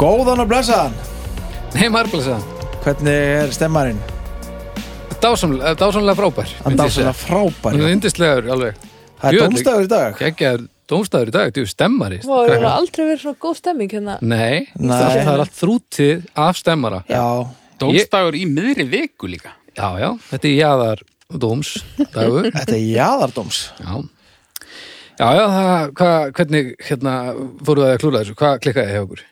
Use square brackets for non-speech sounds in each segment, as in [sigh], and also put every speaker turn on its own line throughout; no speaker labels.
Góðan og blessaðan
Nei, marglasa
Hvernig er stemmarinn?
Dásamlega, eh, dásamlega frábær
Hann dásalega frábær
Hún er yndislegur alveg
Það er
Djöfull.
tómstafur í dag
Gekkjaður dómstæður í dag, þú stemmari
Vá, það hefur aldrei verið svona góð stemming hérna
Nei,
Nei.
Það, það er allt þrútið af stemmara
Já,
Dómstagur í miðri viku líka
Já, já, þetta er jáðar
[laughs]
dómsdagur Já,
þetta er jaðardóms
já, já það, hva, hvernig hérna fóruðu að klúra þessu, hvað klikkaði hjá okkur?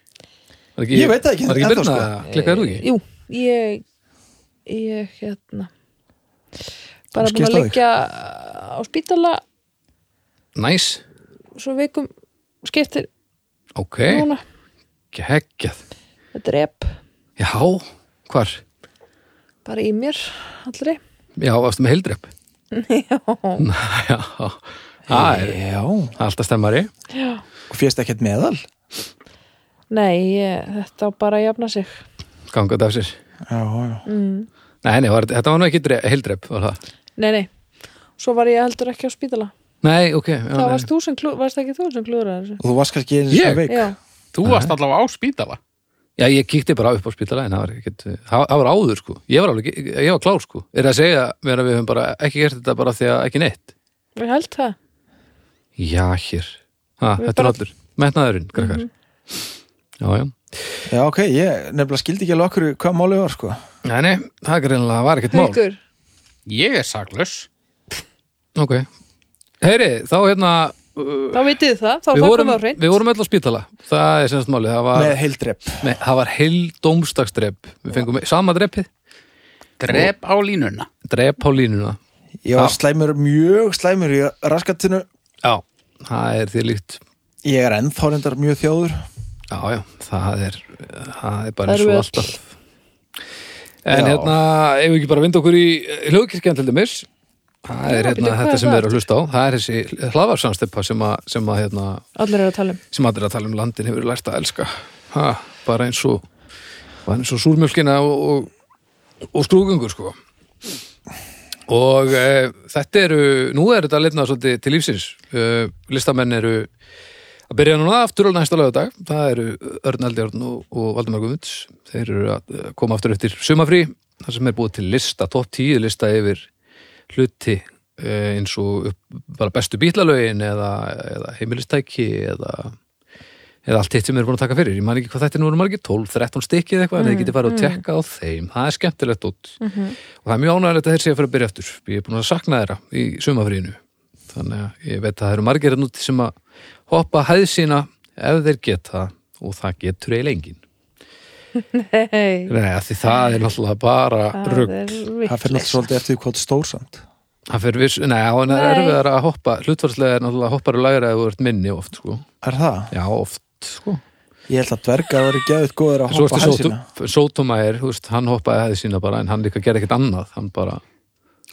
Var
Ég veit það ekki,
Var ekki
ennþá,
byrna,
sko.
klikkaði þú ekki?
Jú, ég ég hérna bara
Þú
búin
skipst á
að
þig?
leggja á spítala
Næs,
svo vikum skiptir
ok,
núna
geggjað
þetta er E ep
Já, hvar?
bara í mér allri
Já, varstu með heildrepp?
Já,
[laughs] Já, það er
Já, og
alltaf stemmari
já.
férst ekkert meðal
Nei, ég, þetta á bara að jafna sig
gangað af sér
Já, já
Nei, nei, var, þetta var nú ekki dre- heildrepp var það.
Nei, nei, svo var ég heldur ekki á spítala
Nei, ok já,
Það
nei.
varst þú sem klú, varst ekki þú sem klúður þessu
Og þú varst kannski einu svona
Ég?
veik
Já,
Þú varst allavega á spítala
Já, ég kíkti bara upp á spítala en það var, ekkit, það það var áður sko ég var, alveg, ég var klár sko er að segja mér að við höfum bara ekki gert þetta bara því að ekki neitt
ég held það
Já, hér ha, Þetta
Við bara- Mhm.
er allir, metnaðurinn, krakkar Já, já
Já, ok, ég nefnilega skildi ekki alveg okkur hvað málið var, sko
Nei, nei, það greinlega var ekkert mál
Haukur,
Ég er saklaus
Ok Heyri, þá hérna uh,
þá vitið þið það, þá
við,
það
vorum,
komið á hreint
við vorum öll á spítala Það er semst málið, það var
Með heildrepp
Nei, það var heil dómstagsdrepp Við fengum sama dreppið
Drep á línuna
Drepp á línuna
Ég var
Já.
slæmur, mjög slæmur í raskatinu
Já, það er því líkt
Ég er ennþá reyndar mjög þjóður
Já, já, það er það er
Það
bara eins og
erum við öll.
alltaf En
Já.
hérna, ef við ekki bara vinda okkur í eh, hljóðkirkjan til dæmis það er
Já,
hérna
bíddu, hvað
þetta
er
sem við
það
erum að hlusta á það er þessi hlaðvarsamsteppa sem að, sem að hérna,
Allir eru að tala um
sem allir að tala um landin hefur lært að elska ha, bara eins og bara eins og súrmjölkina og, og, og skrúgungur sko og e, þetta eru nú er þetta litna svolítið til lífsins e, listamenn eru að byrja núna aftur á næsta lögadag það eru Örn Eldjárn og, og Valdemar Guðmunds þeir eru að eh, koma aftur eftir sumafrí þar sem er búið til lista, topp 10 lista yfir hluti eh, eins og upp, bara bestu bílalögin eða, eða heimilistæki eða eða allt hitt sem við erum búin að taka fyrir ég man ekki hvað þetta er nú eru margir 12, 13 stykki eða
Mm,
eitthvað en þið getið farið að tekka á þeim það er skemmtilegt út
Mhm.
og það er mjög ánægilegt að þeir sé að fara að byrja aftur ég er búin að sakna þeirra í sumafrínu þannig að ég veit að það eru margir að núti sem að hoppa hæð sína ef þeir geta og það getur eiginlega engin
Hei,
Nei, af því það er náttúrulega bara
það
rugg
er
Það fyrir náttúrulega
vittlis
svolítið eftir því hvað þú ert stór samt
það fyrir viss, nei, á en það er
Nei.
erfiðar að hoppa hlutvarslega er náttúrulega hoppar og lægra ef þú ert minni oft, sko
Er það?
já, oft, sko
Ég held að dvergar verið geðið góður að
En svo
hoppa
ertu
hæðsina
Sótum- Sótómaer, þú veist, hann hoppaði hæði sína bara en hann líka gerði ekkert annað, hann bara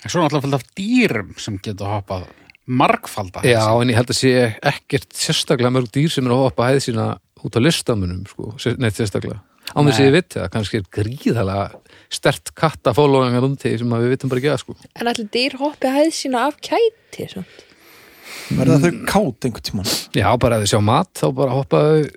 En svo er náttúrulega fullt af dýrum sem getur hoppað margfalda
Já, en ég held að sé ekkert sérstaklega mörg dýr sem er að hoppa hæði sína út á listamunum, sko, sér- neitt sérstaklega án þess að ég viti það, kannski er gríðalega stert katta fólóðingar um til sem að við vitum bara ekki að, sko
En allir dýr hoppi hæð sína af kæti samt.
Mm.
Verða þau kátt einhvern tímann
Já, bara ef þau sjá mat, þá bara hoppaðu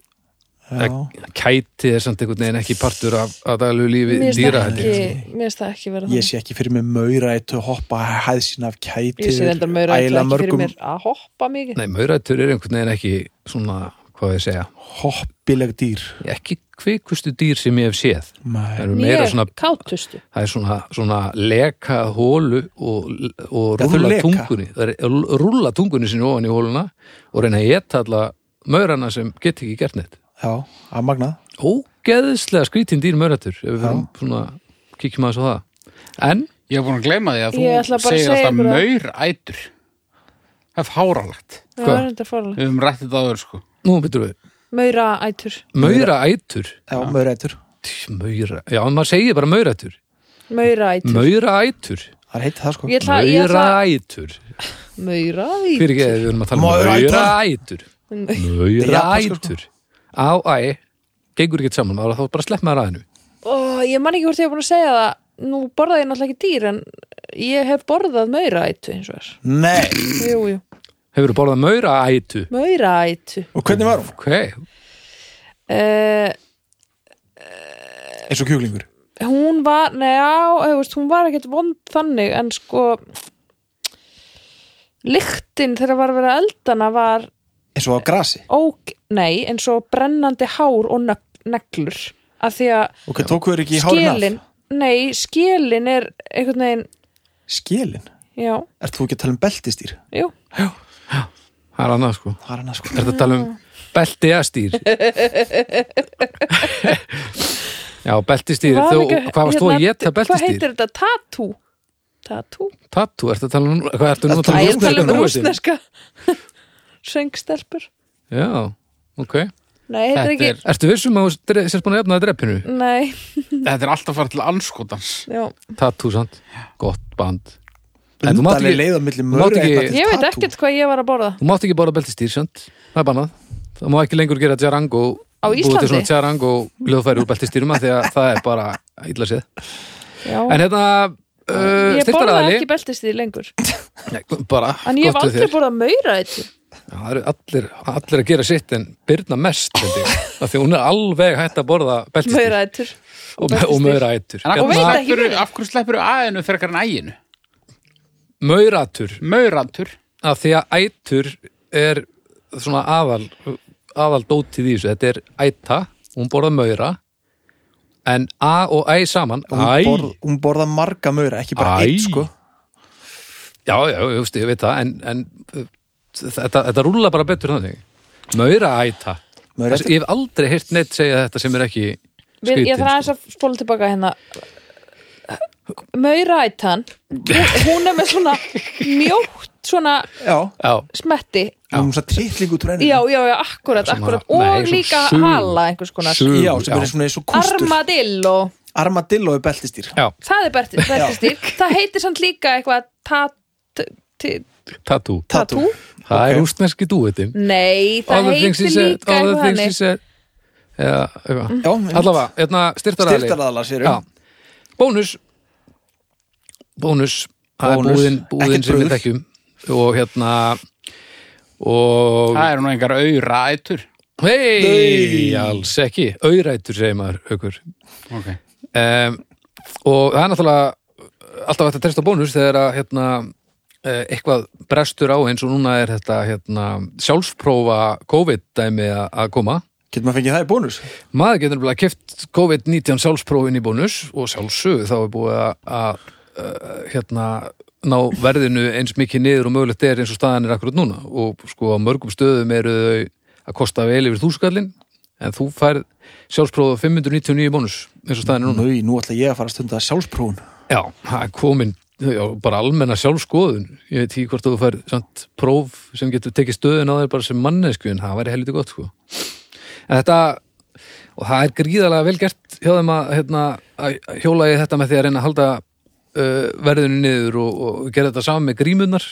Já,
kæti er samt einhvern veginn ekki partur af, af daglu lífi
Mér finnst
dýra
það
held ég.
ekki- mér finnst það ekki vera
ég
þannig
sé ekki fyrir mig maura eitt hoppa hæðsina af kæti
Ég sé
yfir
þetta meira
ægilega
ekki fyrir
mörgum
mér að hoppa mikið
Nei, maurætur er einhvern veginn ekki svona, hvað ég segja
hoppileg dýr
ekki kvikustu dýr sem ég hef séð það
Nei.
eru meira
Ég
svona
kátustu
það er svona, svona leka hólu og, og
Já, þau
rúla
leka.
tungunni það er rúla tungunni sinni ofan í hóluna og reyna að geta alla maurana sem get ekki gert neitt
Já, að magna
ógeðslega skrítin dýr maurætur ef við fyrir svona kíkjum aðeins á það en,
Ég hef búin að gleyma því að
Ég ætla bara
þú
að
segir
segja
alltaf
ykkur að-
maurætur Það er fáralagt
Það
Hvað?
var þetta fórlega
Við höfum rætt þetta áður sko
nú betur við,
Maura ætur
maurætur
Já, maura eittur
Maura, já, maður segir bara maurætur
Maura ætur
Maurætur
Það heiti það sko
Ég ætla, ég ætla
Maurætur
Maura
Fyrir
ætur
ekki að við erum að tala um
Maurætur.
Maurætur
japanskur,
Maurætur Á, æ, gengur ekki saman maður, þá bara slepp maður aðinu
Ó, Ég man ekki hvort ég hef búin að segja það Nú borðaði ég náttúrulega ekki dýr En ég hef borðað maura ætu eins og þess
Nei,
Jú, jú
Hefur þú borðað maurætu?
Maura ætu
og hvernig var hún?
Ok,
Eh,
eins og kjúklingur
hún var, neða, veist, hún var ekkert vond þannig en sko lyktin þegar var að vera eldana var
eins og á grasi
óg, nei, eins og brennandi hár og nögg- neglur af því að
ok, tóku þau ekki í hárin
skilin nei, skilin er einhvern veginn,
af skilin,
já,
ert þú ekki að tala um beltistýr
jú
Það er annað sko
það er annað sko
Er þetta að tala um
Ah. [laughs]
beltiastýr? Já, beltistýr
Var
þú,
ekki-
Hvað varst þú að
hérna,
geta
Hvað
beltistýr?
heitir þetta? Tatú? Tatú?
Tattu, ertu að tala um Hvað ertu nú að
Æ,
Það
tala
er
um
talað um
rússneska?
rúsneska [laughs] Söngstelpur
Já, ok
Nei, þetta er
Þetta
ekki
er-
Ertu vissum að þú dre- sért búin að efna að dreppinu?
Nei,
Þetta er alltaf farið til anskotans.
já
Tattu, sant? Gott band En þú mátt
undarlega
ekki,
leið á milli
þú mátt
mörg
ekki-
Ég veit ekkert hvað ég var að borða
þú mátt ekki bara beltistýr, sant? Það er bannað Það má ekki lengur gera tjarango
Á
Búið
Íslandi?
til svona tjarango hljóðfæri úr beltistýrum af Því að það er bara illa séð
já.
En hérna uh,
Ég borða
styrktaraðili-
ekki beltistið lengur
Nei, bara,
En ég hef
gott við
aldrei
þér.
borðað meira þetta
Já, Það eru allir, allir að gera sitt en Birna mest þetta Því hún er alveg hætt að borða beltistýr
Meira þetta
og, og maurætur
En af hverju
veit
Hérna,
ekki
sleppur,
meira.
af hverju sleppur aðinu fyrir hverjan æginu?
Maurætur
Maurantur.
að því að ætur er svona aðal aðal dótið í þessu, þetta er æta hún borða maura en a og æ saman æ,
hún, borð, hún borða marga maura, ekki bara
Æ.
eitt sko
já, já, ég, veist, ég veit það en, en uh, þetta, þetta rúla bara betur þannig maura æta
Mauraæta.
Þessi, ég hef aldrei heyrt neitt segja þetta sem er ekki
Við, ég
skrýtið,
þarf aðeins að spóla tilbaka hérna Maurætan hún, hún er með svona mjótt svona
já,
já,
smetti
hún er svo trilling út úr enninu
Já, já, já, akkurat,
Svona-
akkurat
nei,
og
svona
líka
sugur.
hala einhvers konar
Sugur.
já, sem
Já.
er svona eins og kústur
Armadillo,
armadillo er beltistýr
já,
það er berti- beltistýr Það heitir samt líka eitthvað tat, t-
tatú
tatú
það
Ok.
er rústneski dúetim
Nei, það heitir líka eitthvað Mm. hannig
said Já, eitthvað.
Já, einmitt.
allavega, hérna styrtaraðali
styrtaraðala sér
Já. Bónus Bónus Það er
Bónus.
búðin, búðin
Ekkert
sem við
brúður.
þekkjum og hérna og
Það eru nú engar auðra ætur.
hei, alls ekki auðrætur segir maður haukur
Ok.
um, og það er náttúrulega alltaf hægt að treysta á bónus þegar að hérna, eh, eitthvað brestur á eins og núna er þetta hérna, sjálfsprófa COVID-dæmi a- að koma
getur maður fengið það í bónus
maður getur nefnilega keft COVID-19 sjálfsprófin í bónus og sjálfsög þá er búið að- að eh, hérna ná verðinu eins mikið niður og mögulegt er eins og staðan er akkurat núna og sko á mörgum stöðum eru þau að kosta vel yfir þúskallin en þú færð sjálfsprófa 599 í bónus eins og staðan er núna
Nú, nú ætla ég að fara að stunda sjálfsprón
Já, það er komin já, bara almenna sjálfskoðun ég veit ekki hvort þú fær samt próf sem getur tekið stöðun á þér bara sem mannesku en það væri helviti gott sko en þetta, og það er gríðalega vel gert hjá þeim að, hérna, að hjóla ég þetta með því að reyna að halda uh, verðinu niður og, og gera þetta saman með grímunar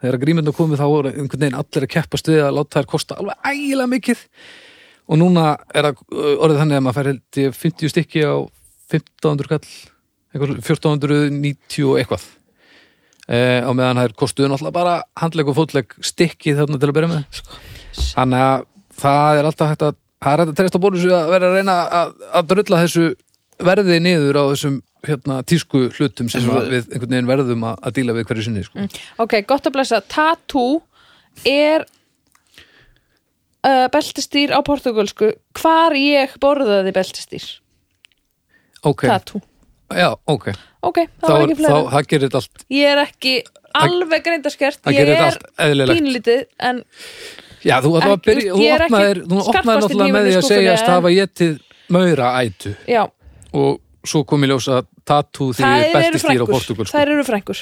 þegar grímunar komið þá voru einhvern veginn allir að keppa stuðið að láta þær kosta alveg ægilega mikið og núna er það uh, orðið þannig að maður fær held ég 50 stykki á 1500 kall eitthvað, 1490 og eitthvað eh, á meðan það er kostuðu náttúrulega bara handleg og fótleg stykki þarna til að byrja með
Sko.
þannig að það er alltaf hægt að það er hægt að treysta bónusu að vera að reyna að, að drulla þessu verði niður á þessum hérna, tísku hlutum sem að við einhvern veginn verðum að, að díla við hverju sinni sko.
Ok, gott að blessa. Tatú er uh, beltistýr á portugalsku. Hvar ég borðaði beltistýr?
ok,
Tatú.
já, ok
Ok,
þá,
það
er-
var ekki
þá,
fleira.
það gerir þetta allt,
Ég er ekki alveg greindaskert.
það
Ég
gerir þetta
er
allt eðlilegt
pínlítið, en
Já, þú ætlaði að
Ekki-
byrja, þú
ég er ekki
opnaðir, þú opnaðir
skarpasti
náttúrulega með
hnífurinn í
því að
skúffunni,
segjast
en-
hafa getið maura ætu
já,
og svo kom í ljós að tatú því
þær eru
beltistýr á
frængur.
Portugal sko.
Þær eru frængur.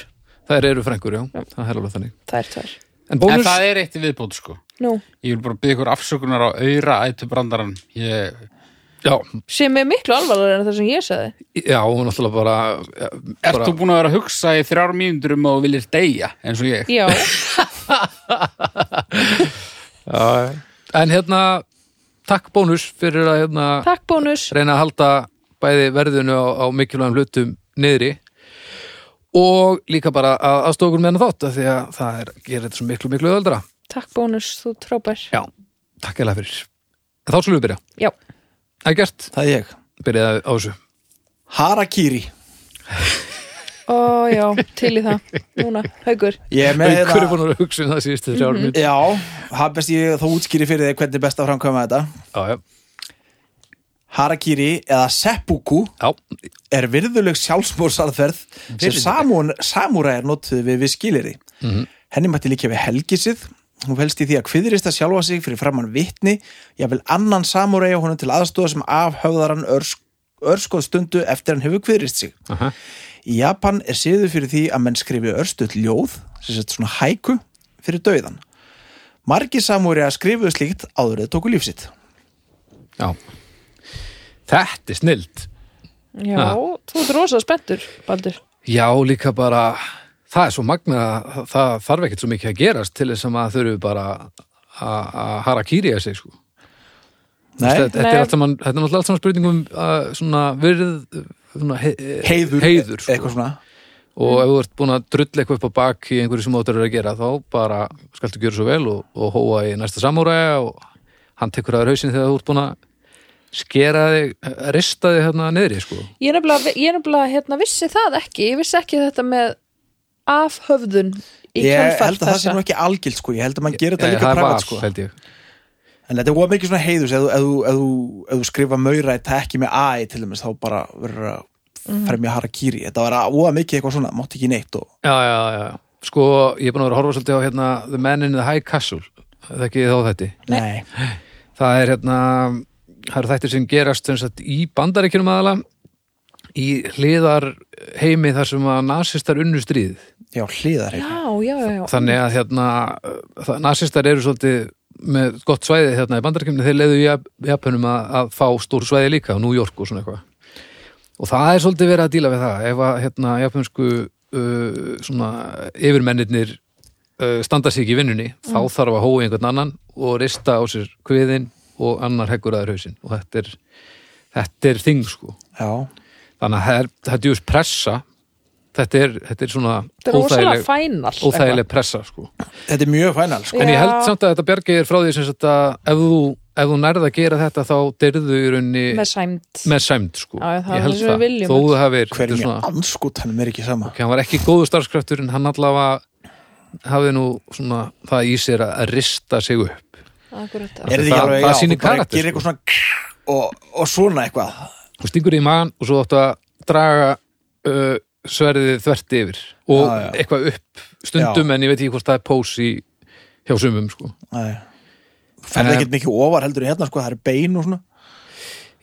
þær eru frængur, já, það er alveg þannig
Þær tvær.
En
En
bónus,
það er eitt í viðbót, sko.
Nú,
Ég vil bara byggja ykkur afsökunar á auðra ætu brandaran. Ég,
já,
sem er miklu alvarlega en það sem ég sagði.
já, hún náttúrulega bara, ja,
ert
bara
þú búin að vera að hugsa í þrjár mínútur um að þú viljir deyja, eins og ég?
Já,
[laughs] já, En hérna, takk bónus fyrir að hérna,
takk bónus.
reyna að halda bæði verðinu á, á mikilvægum hlutum niðri og líka bara að aðstokur með hann þátt af því að það er, gerir þetta svo miklu, miklu öðaldra
Takk bónus, þú trópar.
Já, takk eða fyrir En Þá slúum við byrja,
Já.
það er gert
það er ég
byrjaði á þessu
Harakiri
Ó, já, til í það Núna, haugur
Ég er með hérna-
Haukur er
þetta-
búin að vera að hugsa um það síðustu þrjár
Mhm.
mm
Já, það best ég þá útskýri fyrir þig hvernig er best að framkvæma þetta
Já, já,
Harakiri eða seppuku
já,
er virðuleg sjálfsmórsalferð sem samún, samúræjar notuðu við við skiliri.
Mhm.
Henni mætti líka við helgisið, hún felst í því að kviðrista sjálfa sig fyrir framann vitni, jafnvel annan samúræja honum til aðstóða sem afhöfðar hann örsk, örskoð stundu eftir hann hefur kviðrist sig.
Aha.
Í Japan er siðu fyrir því að menn skrifi örstuðt ljóð, sem sett svona hæku, fyrir dauðan. Margi samúræja skrifuðu slíkt áður eða tóku lífsitt.
já. Þetta er snilt.
Já,
Ha.
þú ert rosa spenntur, Baldur
Já, líka bara, það er svo magna, það þarf ekkert svo mikið að gerast til þess að maður þurfi bara að að harakýrja sig, sko. Þetta,
Nei,
þetta
Nei.
er alltaf mann, þetta er náttúrulega alltaf spurningum uh, svona virð, svona he,
heiður, e-
heiður sko.
eitthvað svona.
og ef þú ert búin að drull eitthvað upp á bak í einhverju sem þú áttur að gera þá bara skaltu gjöra svo vel og, og hóa í næsta samúræja og hann tekur aður hausin þegar þú ert búin að skera þig, eh, rista þig hérna niðri sko.
Ég er nefnilega, ég er nefnilega hérna, vissi það ekki, ég vissi ekki þetta með afhöfðun í
ég
kjölfar
held að það
þessa.
sé nú ekki algilt sko, ég held að mann gerir þetta
Eh,
líka
er val,
privat sko
held ég
en þetta er of mikið svona heiðus ef þú- ef þú- ef þú- ef þú skrifa maura í tekki með AI til dæmis þá bara verður að
Mhm.
fremja harakiri, þetta var of mikið eitthvað svona mátt ekki neitt og
Já, já, já, já. sko ég er búin að vera að horfa svolítið á hérna The Man in the High Castle þekki þá þetta
nei,
það er hérna það eru þættir sem gerast sem sagt, í bandaríkjunum aðalega í hliðar heimi þar sem að nasistar unnu stríð
já hliðar
Já, já, já, já.
þannig að hérna það, nasistar eru svolítið með gott svæði hérna í bandaríkjunum þeir leiðu í Jap- Japanum að, að fá stór svæði líka á New York og svona eitthvað og það er svolítið verið að díla við það ef að hérna japansku uh, svona yfirmennirnir uh, standa sig ekki í vinnunni þá
Mm.
þarf að hóa einhvern annan og rista á sér kviðin og annar heggur aður hausinn og þetta er, þetta er þing sko
já,
þannig að það er- þetta er djúst pressa þetta er, þetta er svona
Þetta er
óþægileg-
rosalega fænal.
óþægileg pressa sko
þetta er mjög fænal sko.
Já.
En ég held samt að þetta bjargi er frá því sem sagt að ef þú, ef þú nærð að gera þetta þá dyrðu í raunni
Með
með,
sæmt.
sæmd sko.
Já, já, það er
ég held
það sem við viljum
Þó
öll.
þú hafir, þetta
hver er
er
mjög
svona,
anskot hann er ekki sama
ok, hann var ekki góðu starfskraftur en hann allavega hafði nú svona það í sér að að rista sig upp.
Akkurat,
Það-
er þetta ekki alveg,
það
já,
sýnir
þú bara
karakter,
gerir
sko.
eitthvað svona og, og svona eitthvað
Þú stingur í magan og svo áttu að draga uh, sverðið þvert yfir og
Já, já.
eitthvað upp stundum
Já.
en ég veit ekki hvort það er pós í hjá sumum sko.
nei ferði
En-
ekkert mikið ofar heldur í hérna sko, það er bein og svona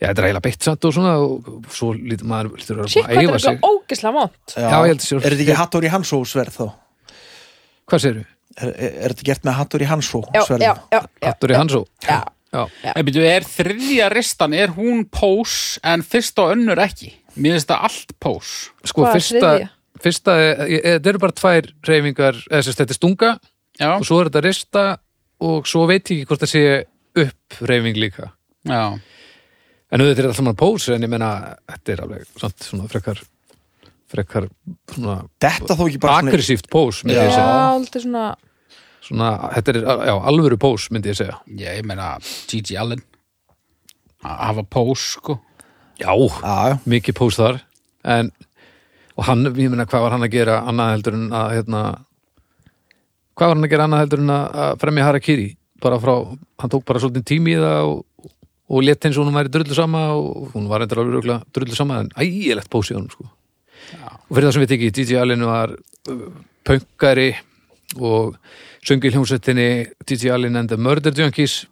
Já, þetta er eiginlega beitt samt og svona og og svo lítur maður lítur að
Sitt hvað þetta
æfa
er
sig.
eitthvað ógislega vont.
Já, ég held sér-
er þetta ekki Hattori Hansó sverð þá?
Hvað segirðu?
Er, er, er þetta gert með Hattori Hansó
Já,
sverð?
já, já, já.
Hattur í Hansó?
Já.
Já.
En byrju, er þriðja ristan, er hún pós en fyrst og önnur ekki? Mér finnst það allt pós.
sko
Hvað er
fyrsta,
þriðja?
fyrsta er- e- e- þetta eru bara tvær reyfingar eða sérst þetta er stunga
Já,
og svo er þetta rista og svo veit ég ekki hvort það sé upp reyfing líka
já.
en auðvitað er alltaf mann pós en ég menna þetta er alveg samt svona frekar frekar svona
Þetta þó ekki bara svona-
aggressíft pós myndi
Já,
ég segja
alltaf svona,
svona, þetta er já, alvöru pós myndi ég segja
Ég meina Gigi Allen að hafa pós, sko.
já,
Já, já.
mikið pós þar en, og hann, ég meina, hvað var hann að gera annað heldur en að hérna, hvað var hann að gera annað heldur en að að fremja Harakiri bara frá, hann tók bara svolítið tími í það og, og let eins og hún væri drullu sama og hún var endur alveg röglega drullu sama en ægilegt pós í honum sko og fyrir það sem við tekið, DJ Allen var uh, pöngari og söngi hljómsveitinni DJ Allen and the Murder Junkies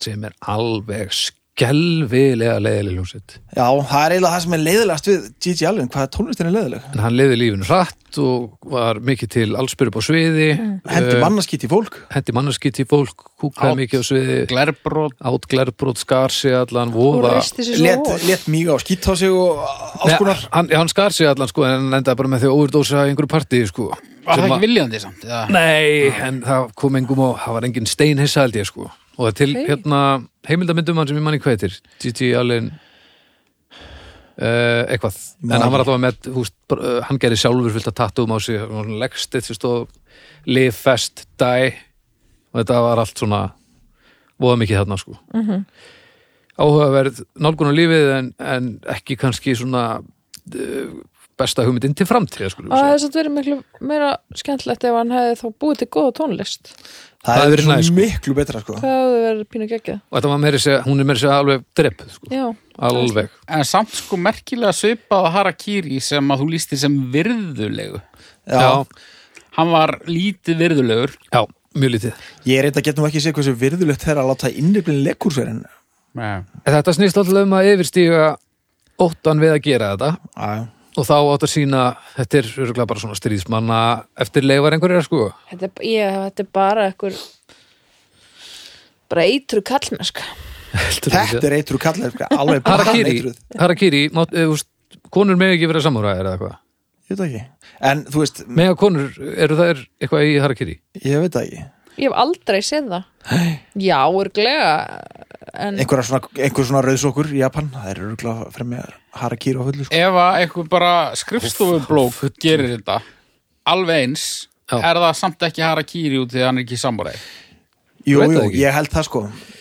sem er alveg skelvilega leiðileg hljómsveit
Já, það er eiginlega það sem er leiðilegast við Gigi Allen, hvað tónlistin er leiðileg?
en hann liði lífinu hratt og var mikið til allspyrir upp á sviði Eh.
Hendi mannaskýtt í fólk
hendi mannarskitt í fólk, kúkaði
Át.
mikið á sviði
Glerbrót.
átt glerbrót, skar sig allan
hún
voða
risti sér svo
Let,
hóð.
let mig á skýtt á sig og
Nei,
áskunar
hann, hann skar sig allan sko en hann endaði bara með því að overdósa í einhverju partíi sko
Var það
Sem
ekki
að-
viljandi samt? Eða?
Nei, Ah. en það kom engum og það var engin steinhissa held ég sko og það er til
Ok.
hérna heimildamyndum hann sem ég manni hvað heitir G.G. Allen uh, eitthvað,
Man
en hann var
ekki.
allavega með húst, uh, hann gerði sjálfur fullt að tattum á sig hann var svona legstitt sem stóð live fast, die og þetta var allt svona voða mikið þarna sko mm -hmm. áhugaverð nálgun á lífið en, en ekki kannski svona eh, besta hugmyndin til framtíða skulum
og það
við
hefði samt verið miklu meira skemmtilegt ef hann hefði þá búið til góða tónlist
það
hefði
er
verið
svo
næs, sko.
miklu betra sko.
það hefði verið pínu geggja
og þetta var meiri segja, hún er meiri segja alveg drepp sko.
já,
alveg,
En samt sko merkilega svipað á Harakiri sem að þú lístir sem virðulegu.
já.
Já.
Hann var lítið virðulegur.
já, mjög lítið
ég er eitthvað að getum ekki séð hversu virðulegt þeirra að láta innriflin leikursverðin
Nei.
þetta snýst alltaf um að yfirstíga óttan við að gera þetta
já,
og þá átt að sína, þetta er örugglega bara svona stríðsmanna eftir leifar einhverjar sko
þetta, er- ég, þetta er bara einhver bara eitru kallmennsk
þetta er eitru kallar alveg
Harakiri,
eitruð.
Harakiri má, e, úst, konur með ekki vera samúræðir eða eitthvað
ég veit það ekki, en þú veist
með að konur, eru þær eitthvað í Harakiri
ég veit það Mm. ekki,
ég hef aldrei séð það já, örglega en
einhver svona, einhver svona rauðsokkur í Japan, það eru rúkla fremja harakýr og fullu sko.
Ef að einhver bara skrifstofublók gerir þetta alveg eins,
Já.
er það samt ekki Harakiri út því að hann er ekki samúræði.
jú,
veit það
jú,
ekki.
ég held það sko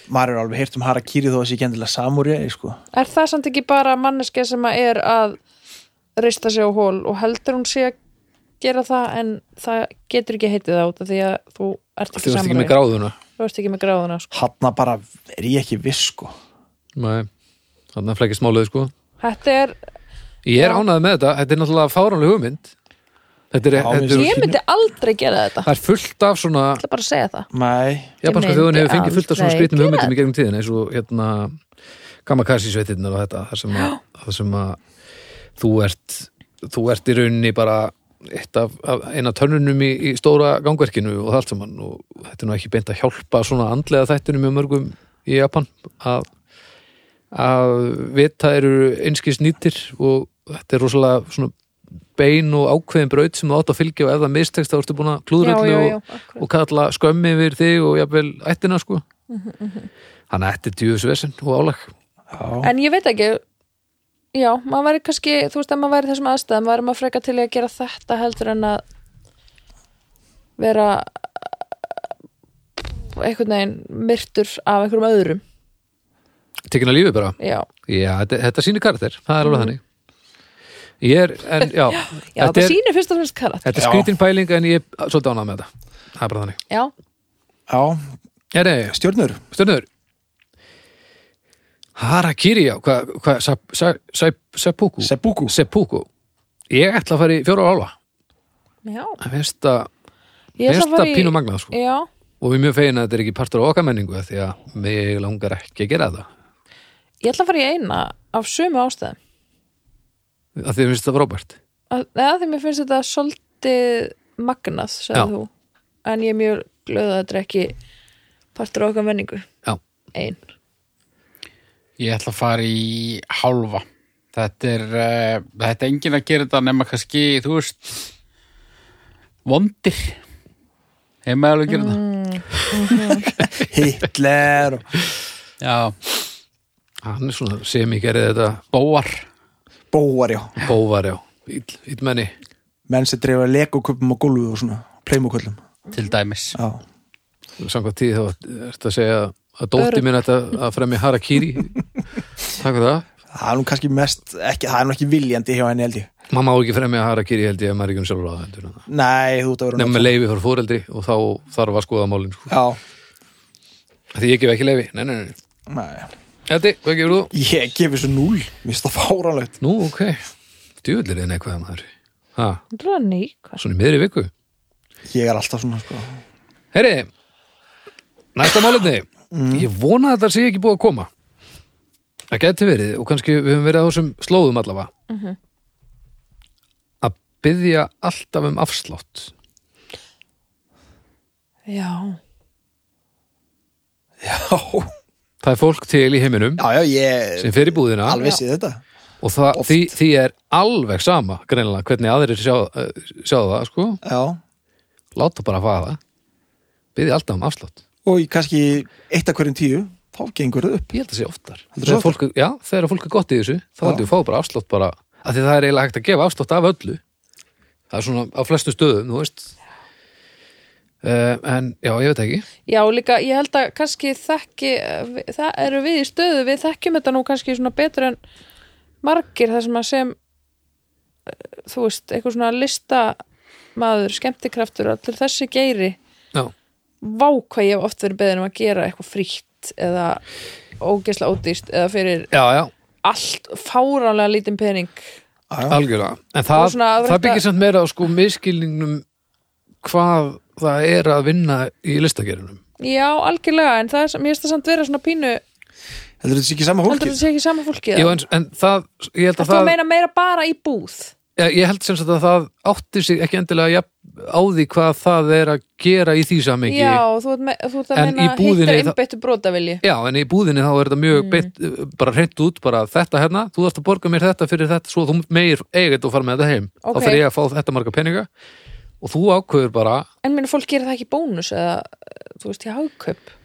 maður er alveg heyrt um harakýri þó að sé ekki endilega samúri sko.
er það samt ekki bara manneskja sem að er að reista sig á hól og heldur hún sé að gera það en það getur ekki heitið það út af því að þú ert
þú
ekki
veist ekki með
samræði
gráðuna
þú ert ekki með gráðuna sko.
hann bara er ég ekki viss sko.
Nei, þannig að flækist málið sko
þetta er,
Ég er
Já.
ánægð með þetta, þetta er náttúrulega fáránleg hugmynd Þetta er,
Já, mér
þetta
finnst-
er,
ég myndi aldrei gera þetta
það er fullt af svona
ætla bara að segja það
nei,
Japanska
myndi
þjóðin hefur fengið fullt af svona
aldrei
skrítum
gera
hugmyndum
þetta.
í gegnum tíðin eins og hérna Kamakasi sveitirnar og þetta þar sem að, þar sem að þú ert þú ert í rauninni bara eitt af, af eina törnunum í, í stóra gangverkinu og það allt saman og þetta er nú ekki beint að hjálpa svona andlega þættunum með mörgum í Japan að, að vita eru einskis nýtir og þetta er rosalega svona bein og ákveðin braut sem þú átt að fylgja og ef það mistekst þá ertu búin að
já,
klúðra
já,
öllu
já,
og,
akkurat.
og kalla skömmi yfir þig og jafnvel ættina sko hann ætti djúðsvesen og álag
já,
en ég veit ekki já, maður væri kannski, þú veist að maður væri í þessum aðstæðum væri maður freka til í að gera þetta heldur en að vera eh, einhvern veginn myrtur af einhverjum öðrum
tekin að lífi bara,
já,
já, þetta, þetta sýnir karakter það er alveg þannig ég er, en já,
já
þetta,
þetta
er,
sýnir fyrst og fremst karat
þetta er skrítin pæling en ég er svolítið ánað með þetta það er bara þannig
já,
já,
já, nei,
stjórnur
stjörnur Harakiri, já, hvað hva, sa, sa, sa, seppuku
seppuku,
seppuku ég ætla að fara í fjóra og álfa
já
það finnst það
ég ætla
finnst
að fara
það
í
pínu magnað sko.
já,
og við erum mjög fegin að þetta er ekki partur á okkar menningu af því að mig langar ekki að gera það
ég ætla að fara í eina af sömu ástæðum
að því að finnst það frábært
Að- eða því mér finnst þetta svolítið
Já.
magnað, sagði þú en ég er mjög glöð að þetta er ekki partur á okkar menningu
já,
ein
Ég ætla að fara í hálfa. Þetta er, uh, þetta er enginn að gera þetta nema kannski, þú veist, vondir. Hefur maður alveg að gera þetta?
Hitler og
Já,
hann er svona sem ég gerði þetta
bóar.
bóar já
bóvar já, Ill- illmenni
menn sem drefa legoköpum á gólfu og svona pleimuköllum
Til dæmis.
já,
samkvæmt tíð þá ertu að segja að dótti
Örugg.
minn ætti að að fremja harakiri takk fyrir það
það er nú kannski mest ekki, það er nú ekki viljandi hjá henni held ég
maður má ekki fremja harakiri held ég að maður er ekki um sjálfur á það heldur en það.
nei, þú ert að vera
nema með leifi fyrir fóreldri og þá þarf að skoða málin sko.
já,
því ég gef ekki leifi, nei, nei, nei
nei
Eddi, hvað gefur þú?
Ég gefi svo núl, mér finnst það fáránlegt
Nú, ok, djúvillir en eitthvað maður ha,
Ranný, hvað?
svona í miðri viku
Ég er alltaf svona sko
Herri, næsta málefni
Mm.
Ég vona að þetta sé ekki búið að koma Það geti verið og kannski við höfum verið á þessum slóðum allavega
Mhm.
að byggja alltaf um afslátt
Já,
Já,
Það er fólk til í heiminum
já, já ég
sem fer í búðina
alveg sé þetta
og það, því, því er alveg sama greinlega hvernig aðrir sjá, eh, sjá það sko,
Já,
láta bara að faða byggja alltaf um afslátt
og í kannski eitt af hverjum tíu þá gengur það upp
Ég held að sé oftar
Heldur
Þegar
þú oftar?
fólk, Já, þegar fólk er gott í þessu þá
Já.
heldur við fá bara afslátt bara af því það er eiginlega hægt að gefa afslátt af öllu það er svona á flestu stöðum, þú veist uh, En já, ég veit ekki
já líka, ég held að kannski þekki, það eru við í stöðu, við þekkjum þetta nú kannski svona betur en margir það sem að sem þú veist, eitthvað svona listamaður, skemmtikraftur allir þessi geiri
Já.
vá hvað ég hef oft verið beðin um að gera eitthvað frítt eða ógeðslega ódýst eða fyrir
já, já,
allt fáránlega lítinn pening
algjörlega en
Og
það,
svona að
það
reyta-
byggir samt meira á sko miskilningnum hvað það er að vinna í listagerunum
já, algjörlega, en það er, mér finnst það samt vera svona pínu,
Heldur þetta sé ekki sama
heldur
fólkið?
þetta sé ekki sama fólkið
Jú, en, en það, ég held að
Þetta
það
það... meina meira bara í búð
Já, ég held sem sagt að það átti sig ekki endilega jafn, á því hvað það er að gera í því samingi
Já, þú ert, me, þú ert að
En
meina
í búðinni
hittar
það-
einbyttu brotavilji
en í búðinni þá er þetta
Mm.
mjög beitt, bara hreint út, bara þetta hérna þú þarft að borga mér þetta fyrir þetta svo þú meir eigið og fara með þetta heim
Ok.
þá þarf ég að fá þetta marga peninga og þú ákveður bara
En minna fólk gerir það ekki í bónus eða, þú veist, ég hagkaup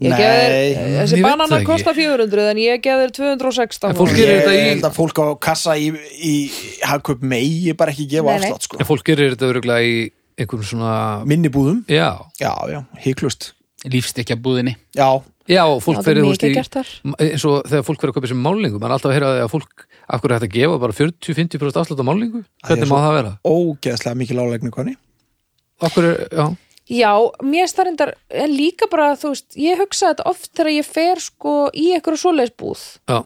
Nei,
Ég gef þér, þessi
ég veit
banana
það ekki.
kostar 400 en ég gef þér 216
En fólk
krónur.
gerir
ég
þetta í-
held að fólk á kassa í, í hagkaup megi bara ekki gefa
Nei, nei.
afslátt sko.
en fólk gerir þetta öruglega í einhverjum svona
minni búðum,
já,
já, já, híklust
lífstekja búðinni
já,
já, og fólk
Já, það er
verið þú veist,
mikið
í-
gert þar
eins og þegar fólk verið að kaupa sér málingu maður er alltaf að heyra að fólk, af hverju er þetta að gefa bara 40-50% afslut á málingu
Það er
hvernig má
svo-
það vera?
ógeðslega mikil álegni konni
Af hverju, já,
Já, mér starindar, en líka bara þú veist, ég hugsa þetta oft þegar ég fer sko í eitthvað svoleiðsbúð
já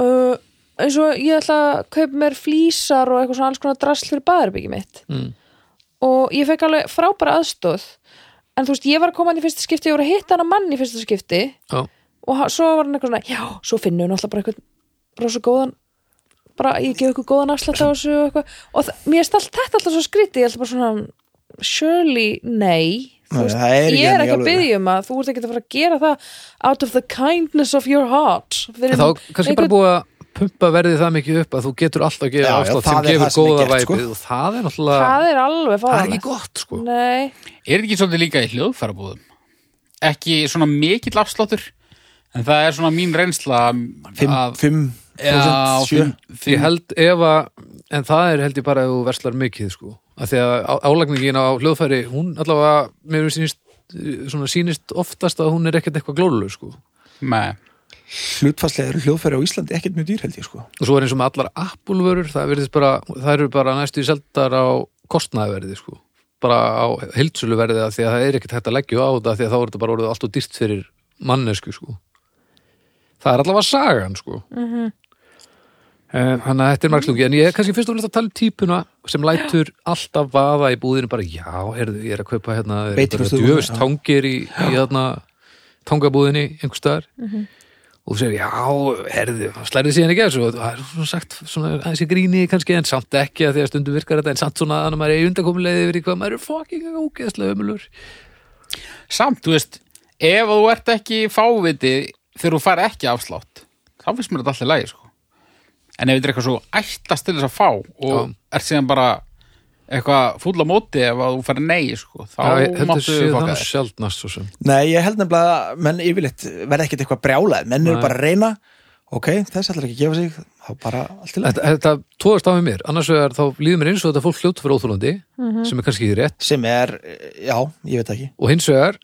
uh, eins og ég ætla að kaupa mér flísar og eitthvað svona alls konar drasl fyrir baðarbyggi mitt
Mm.
og ég fekk alveg frábæra aðstóð en þú veist, ég var að koma hann í fyrsta skipti ég voru að hitta hann að mann í fyrsta skipti
Já,
og ha- svo var hann eitthvað svona, já, svo finnum við náttúrulega bara eitthvað rosa góðan bara ég gef eitthvað góðan afslætt á þessu og, eitthvað. og það- mér er allt þetta alltaf svo skrítið ég ætla bara svona, surely nei, þú
Nei,
veist,
það er ekki
ég
þannig
er
í
ekki að
alvöru.
byggja um að þú ert ekki að fara að gera það out of the kindness of your heart fyrir
en þá kannski bara búið að pumpa verðið það mikið upp að þú getur alltaf að
Já,
gefa
já,
afslátt
það
sem
er það
gefur
sem er
góða
gert, sko.
væpið og það er náttúrulega,
það er
það er
alveg farað
ekki gott sko
nei,
Er þetta ekki svolítið líka í hljóðfærabúðum? Ekki svona mikill afsláttur en það er svona mín reynsla að-
5%
Já,
7
fimm- fimm-
Ég held ef að, en það er held ég bara ef þú verslar mikið sko að því að á- álagningin á hljóðfæri, hún allavega mér sýnist, eh, svona sýnist oftast að hún er ekkert eitthvað glóluleg sko og
Nei,
hlutfarslega eru hljóðfæri á Íslandi ekkert mjög dýr held ég sko
svo er eins og með allar appulvörur, það verðist bara það eru bara næstu í seldar á kostnaðverði sko, bara á heildsöluverði að því að það er ekkert hægt að leggja á þetta af því að þá er þetta bara orðið allt og dýrt fyrir mannesku sko það er allavega sagan sko Þannig að þetta er margslungi, en ég er kannski fyrst og fremst að tala um típuna sem lætur alltaf vaða í búðinu bara, já, heyrðu, ég er að kaupa hérna, er
Veitingastöðum,
bara djöfust
já.
tangir í, í þarna tangabúðinni einhvers staðar og þú segir, já, herðu, slærið síðan ekki að þessu og það er svona sagt, svona aðeins í gríni kannski, en samt ekki að því að stundum virkar þetta en samt svona að maður er undankomulegði yfir í hvað maður er fucking ógeðslega ömulur
samt, þú veist ef þú ert ekki fáviti þegar þú fær ekki afslátt þá finnst mér þetta allir lægi sko. en ef þetta er eitthvað svo ættast til þess að fá
Já.
og ert síðan bara eitthvað fúll á móti ef að þú fær nei sko, þá máttu
sé
við
það
fokka
nú
þér
sjaldnast svo sem
Nei, ég held nefnilega að menn yfirleitt verða ekkert eitthvað brjálað, menn eru bara að reyna ok, þess ætlar ekki að gefa sig þá bara allt til að
Þetta, þetta tóðast á með mér, annars vegar þá líður mér eins og þetta fólk hljótt fyrir óþólandi sem er kannski rétt
sem er, eh, já, ég veit ekki
og hins vegar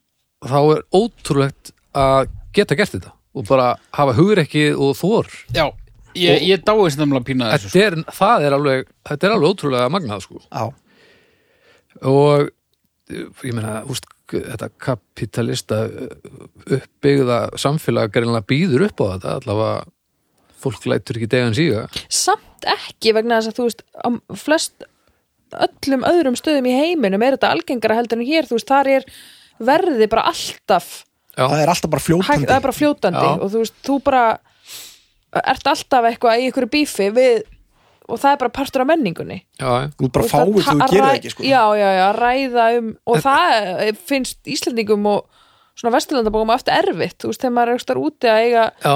þá er ótrúlegt að geta gert þetta og bara hafa hugur ekki og þor
Já, ég, ég dái sem þemlega pína þessu sko.
þetta er, það er alveg þetta er alveg ótrúlega magnað sko
Já,
og eh, ég meina, úst, þetta kapitalista eh, uppbyggða samfélag greinlega býður upp á þetta allavega fólk lætur ekki degan síga
samt ekki vegna þess að þú veist á flest öllum öðrum stöðum í heiminum er þetta algengara heldur en hér þú veist, þar er verði bara alltaf
það er alltaf bara
hægt,
fljótandi
það er bara fljótandi
Já.
og þú veist, þú bara ert alltaf eitthvað í ykkur bífi við, og það er bara partur af menningunni
já,
Þú ert bara
veist, að
fáið þú
ta-
gerir það
ræ-
ekki sko
já, já, já, að ræða um og það eh, finnst Íslandingum og svona vesturlandabókum oft erfitt þú veist, þegar maður er ekstra úti að eiga
já,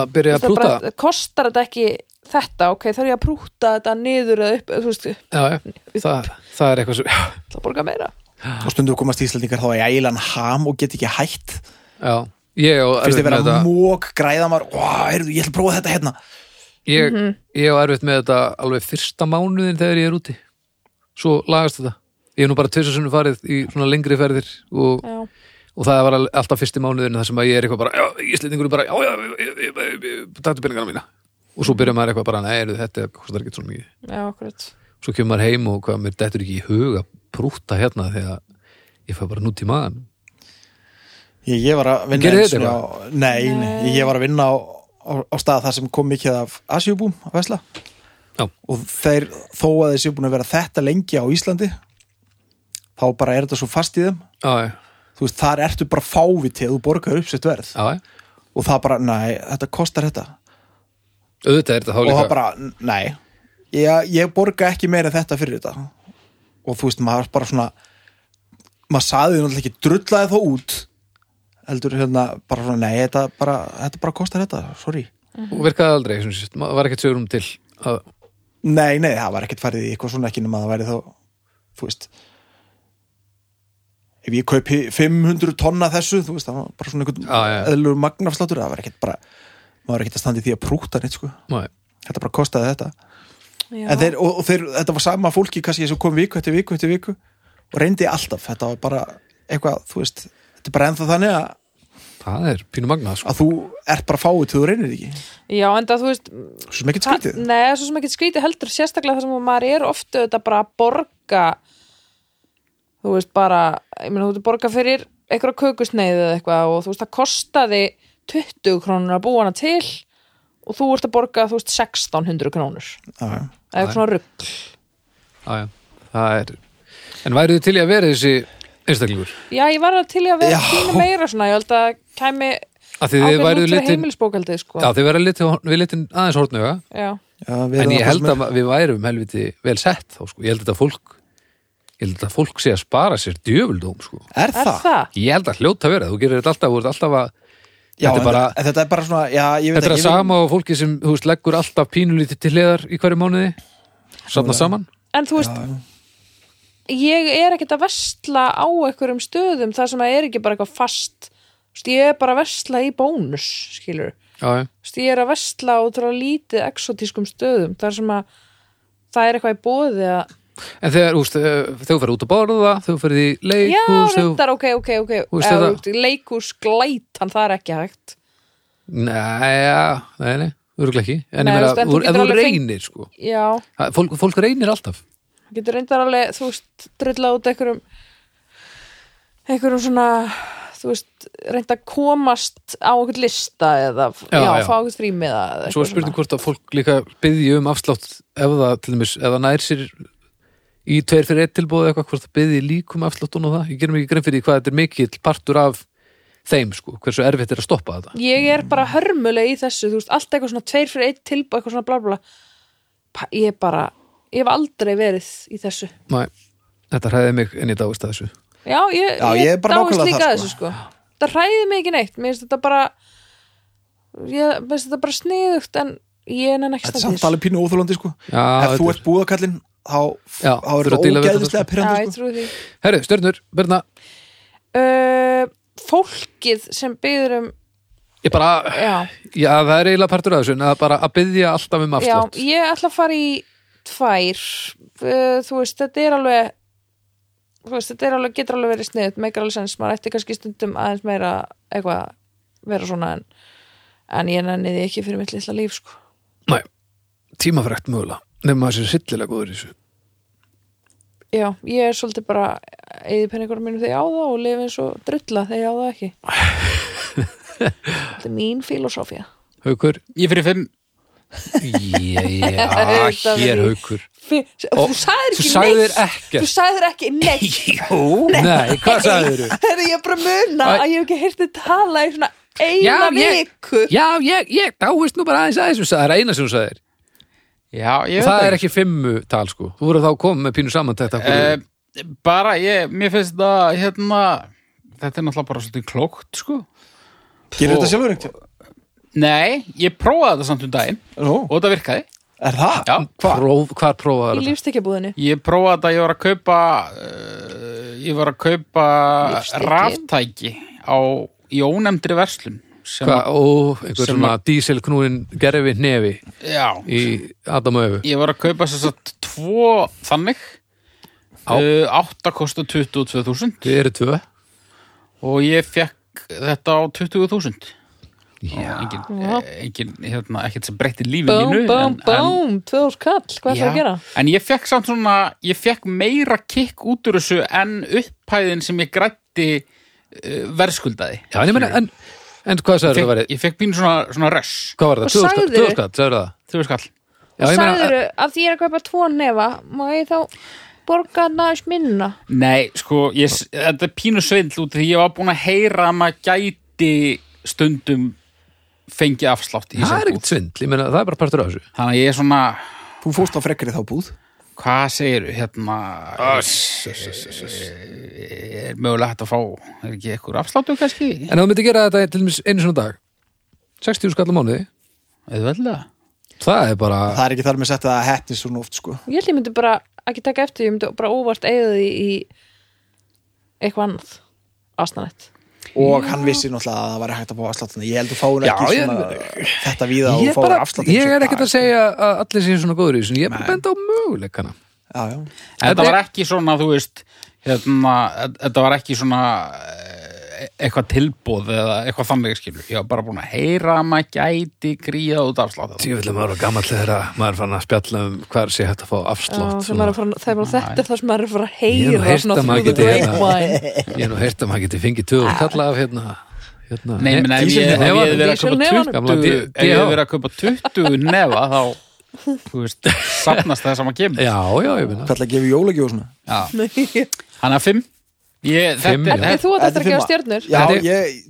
að byrja að
það
prúta
bara, kostar þetta ekki þetta, ok, þarf ég að prúta þetta niður eða upp, eða þú veist,
já, já, það, það er eitthvað sem
það borga meira
og stundum komast Íslandingar þá í ægilan ham og get ekki hætt
já, ég og
fyrst þið vera mók græða maður, ó, heyrðu, ég ætla að prófa þetta hérna
ég, ég á erfitt með þetta alveg fyrsta mánuðin þegar ég er úti svo lagast þetta ég hef nú bara tvisar sunni farið í svona lengri ferðir og,
Já.
og það var al- alltaf fyrsti mánuðin þar sem að ég er eitthvað bara, já, ég slendingur bara, já, já, ég- ég- ég- ég- taktu peningana mína og svo byrjar maður eitthvað bara, nei, heyrðu, þetta kostar ekki svona mikið
já, akkurat
svo kemur maður heim og hvað mér dettur ekki í hug að prúta hérna þegar ég fæ bara nút í maðan
Ég, ég var að vinna
Gerið
einu
þið
sinni
eitthvað?
á- Nei, nei, ég var að vinna á, á, á stað þar sem kom mikið af Asjúbúm að Vesla
Já.
og þeir, þó að þeir séu búin að vera þetta lengi á Íslandi þá bara er þetta svo fast í þeim
já, já,
þú veist, þar ertu bara fáviti að þú borgar upp sitt verð
já, já.
og það bara, nei, þetta kostar þetta
auðvitað er þetta þá
og það
líka
bara, nei ég, ég borga ekki meira en þetta fyrir þetta og þú veist, maður bara svona maður saði því náttúrulega ekki drullaði þá út heldur hérna, bara svona, nei, þetta bara þetta bara kostar þetta, sorry
og virkaði aldrei, sem sést, maður var ekkert sögurum til að,
nei, nei, það var ekkert farið í eitthvað svona ekki nema það væri þá, þú veist ef ég kaupi 500 tonna af þessu, þú veist, það var bara svona
Já, já.
einhvern eðlur magnafsláttur, það var ekkert bara maður var ekkert að standa í því að prúta neitt, sko
nei,
þetta bara kostaði þetta
já.
En þeir, og, og þeir, þetta var sama fólki kannski sem kom viku eftir viku eftir viku og reyndi alltaf, þetta var bara eitthvað, þú veist, þetta er bara ennþá þannig að,
það er pínu magnað, sko
að þú ert bara fáið til þú reynir ekki
já, enda þú veist
svo sem ekkert
það-
skrítið
Nei, það er svo sem ekki skrítið heldur sérstaklega þar sem að maður er ofta þetta bara að borga þú veist bara, ég meina þú veist borga fyrir einhverja kökusneið eða eitthvað og þú veist það kostaði 20 krónur að búa hana til og þú ert að borga þú veist 1600 krónur
Já, já.
eða eitthvað svona rugg
já, já, það er en væruð þið til í að vera þessi einstaklingur,
Já, ég var að til í að vera
Já.
pínu meira svona ég held að kæmi
að því þið
ákveðin
væruð
út fyrir
litin,
heimilisbókaldið sko
já, þið væruð litin við litin aðeins hortnöga,
Já.
Já, við
en
erum
ég
það
held
sem
að við værum helviti vel sett þá, sko, ég held þetta fólk ég held þetta fólk sé að spara sér djöfuldóm, sko,
er, er
Er
það?
það?
ég held að hljóta vera þú gerir þetta alltaf, þú ert alltaf að
Já,
þetta er bara,
en þetta er bara svona já, ég veit
þetta er að
ekki, ég,
sama og fólki sem, þú veist, leggur alltaf pínulítið til hliðar í hverju mánuði, safna saman
En þú veist, ég er ekkert að vestla á einhverjum stöðum þar sem að er ekki bara eitthvað fast Þú veist, ég er bara að vestla í bónus skilur,
já, já,
Þú veist, ég er að vestla á trá lítið exotískum stöðum þar sem að það er eitthvað í bóði að,
En þegar, úst, þau fyrir út að borða, þau fyrir í
já,
leikhús, þau...
reyndar, ok, ok, ok
Þú veist,
eða,
þetta-
þú veist, leikhús glætan, það er ekki hægt
Næja, nei, nei, örgulega ekki. En
Nei,
ég
þú veist,
meina,
en þú
þú- ef
getur
þú
alveg fengt-
reynir, sko.
já,
Það- Fólk, fólk reynir alltaf.
það getur reyndar alveg þú veist, drullað út einhverjum einhverjum svona þú veist, reynda að komast á einhvern lista eða já,
Já, já.
fá einhvern frímiða
Svo
eða eitthvað
er spurning hvort að fólk líka byðji um afslátt ef það, til dæmis, ef það nær sér í tveir fyrir eitt tilbúið eitthvað, hvort það byðji líkum afsláttun og það. Ég gerum ekki grein fyrir því hvað þetta er mikill partur af þeim, sko, hversu erfitt er að stoppa þetta.
ég er bara hörmuleg í þessu þú veist, allt eitthvað svona tveir fyrir eitt tilbúð eitthvað svona bla bla bla. Pa- ég er bara, ég hef aldrei verið í þessu
Næ, þetta hræði mig en ég dáist að þessu.
já, ég,
Já, ég er bara
dáist
nákvæmlega
líka
þar,
að þessu sko það hræði mig ekki neitt, mér finnst þetta bara ég mér finnst þetta bara sniðugt en ég er enn ekki
þetta er
standi
samt alveg pínu óþólandi sko
Já,
ef þú
þetta er-
ert búðakallinn þá,
Já,
þá
þurfa að
er þetta
díla við þetta,
ógeðislega
já,
pyrrandi
ég
sko.
trúi því
Herru, stjörnur, Birna,
uh, fólkið sem byður um
ég bara,
já,
Já, það er eiginlega partur af þessu, en að bara að byggja alltaf um
já,
afslátt.
ég ætla að fara í tvær uh, þú veist, þetta er alveg þú veist, þetta er alveg, getur alveg verið sniðut meikar alveg sens, maður ætti kannski stundum aðeins meira eitthvað, vera svona en, en ég nenni því ekki fyrir mitt litla líf sko.
Næ, tímafrækt mögulega, nefnum að það sé sillilega góður í þessu.
já, ég er svolítið bara eði penningur mínum þegar ég á það og lifi eins og drulla þegar ég á það ekki
[laughs]
þetta er mín filosófía
Haukur?
Ég fyrir fimm
Já,
Auðvitað
hér
verið.
haukur.
Fi-
Ó,
þú sagðir
þú
ekki
sagðir
neitt
ekkert.
þú sagðir ekki
[laughs]
neitt
Jó. Nei, hvað sagður þú?
Herri, ég er bara að muna
Æ.
að ég hef ekki heyrti tala í svona eina
Já, ég-
viku
Já, ég, ég, dáist nú bara aðeins að þessu, það er eina sem þú sagðir.
Já, ég veit
Það er ekki fimmu tal, sko. Þú voru þá komið með pínu samantætt af hverju.
Eh, bara, ég, mér finnst þetta hérna, þetta er náttúrulega bara svolítið klókt, sko.
gerir þetta sjálfur einhvern
Nei, ég prófaði þetta samt um daginn
tímann?
og þetta virkaði.
er það?
Já,
hvað?
Próf, hvar prófaður
í
þetta?
lífstekjabúðinni
ég prófaði þetta, ég var að kaupa uh, ég var að kaupa
Lífstíllinn.
ráftæki á í ónefndri verslun sem,
Hvað, ó, einhver
sem
svona díselknúin gerfi nefi
já,
í Adam og Öfu.
ég var að kaupa þess að tvo þannig
Á.
uh, 8 kosta 22.000
Þið eru tvö.
og ég fekk þetta á 20.000 Já. Engin,
Já.
engin, hérna, ekkert sem breytti lífi
Bóm,
mínu
bóm,
en- en-
bóm, tvöðurs kall, hvað ætlar
Já,
að gera?
En ég fekk samt svona, ég fekk meira kikk út úr þessu en upphæðin sem ég grætti uh, verðskuldaði.
Já, en ég meina, en, en hvað sagður
Fekk,
það verið?
ég fekk mínu svona, svona röss,
Hvað var það?
Og
2000
sagðirðu-
2000 skatt, sagður það?
þau veist kall.
Já,
og
ég meina,
sagðiru að því ég er að kaupa tvo nefa má ég þá borga næst minna
Nei, sko, ég, s- þetta er pínu svindl út af því ég var búin að heyra að maður gæti stundum fengið afslátt
það
í
er
þessari búð.
ekkert svindl, ég meina, það er bara partur af þessu.
Þannig að ég er svona,
Þú fórst á frekkari þá búð
hvað segiru, hérna,
Ah,
er mögulega hægt að fá, er ekki ekkur afsláttu kannski?
En ef þú myndir gera þetta til dæmis einu svona dag, 60 skall á mánuði,
Eðvelda?
það er bara,
Það er ekki þar með sett að hætti svona oft sko
ég held ég myndi bara ekki taka eftir ég myndi bara óvart eigða því í eitthvað annað astanett
Og hann vissi náttúrulega að það var hægt að fá afsláttan Ég held að fá hún
Já,
ekki
ég-
svona þetta víða
ég,
og fá
bara,
afsláttan
ég er ekkert að segja að allir séu svona góður í þessu, en ég er bara að benda á möguleikana.
Já, já
Þetta
Þetta
var ekki svona, þú veist hérna, þetta var ekki svona eh, eitthvað tilbóð eða eitthvað þannig skilur, ég var bara búin að heyra að maður gæti gríða út afslátt
Ég vil að maður var gammal þegar að maður er fann að spjalla um hvað sé hægt að fá afslátt.
þegar maður er fara- þegar maður þetta er það sem maður er að fara að
Ég hef nú
heyra
heyrt
svona
að maður
through the
geti hérna- [laughs]
[laughs] grapevine.
Ég hef nú heyrt að maður geti fengið töðu og kalla af hérna, hérna
Nei, menn ef ég ef ég
nefanum.
hefði verið að kaupa
Gamla DH.
Díselnefanum.
20 ef ég hefði verið að kaupa 20 nefa
[laughs]
þá, þú veist, safnast það sem að kemur
Já, já, ég meina.
Hvað ætla að gefa jólagjóð svona?
Já. hann er 5 ég,
Fimm, já.
þetta,
en
þetta,
þú átt eftir að gefa
fimma.
stjörnur
Já,
Þetta er-
ég,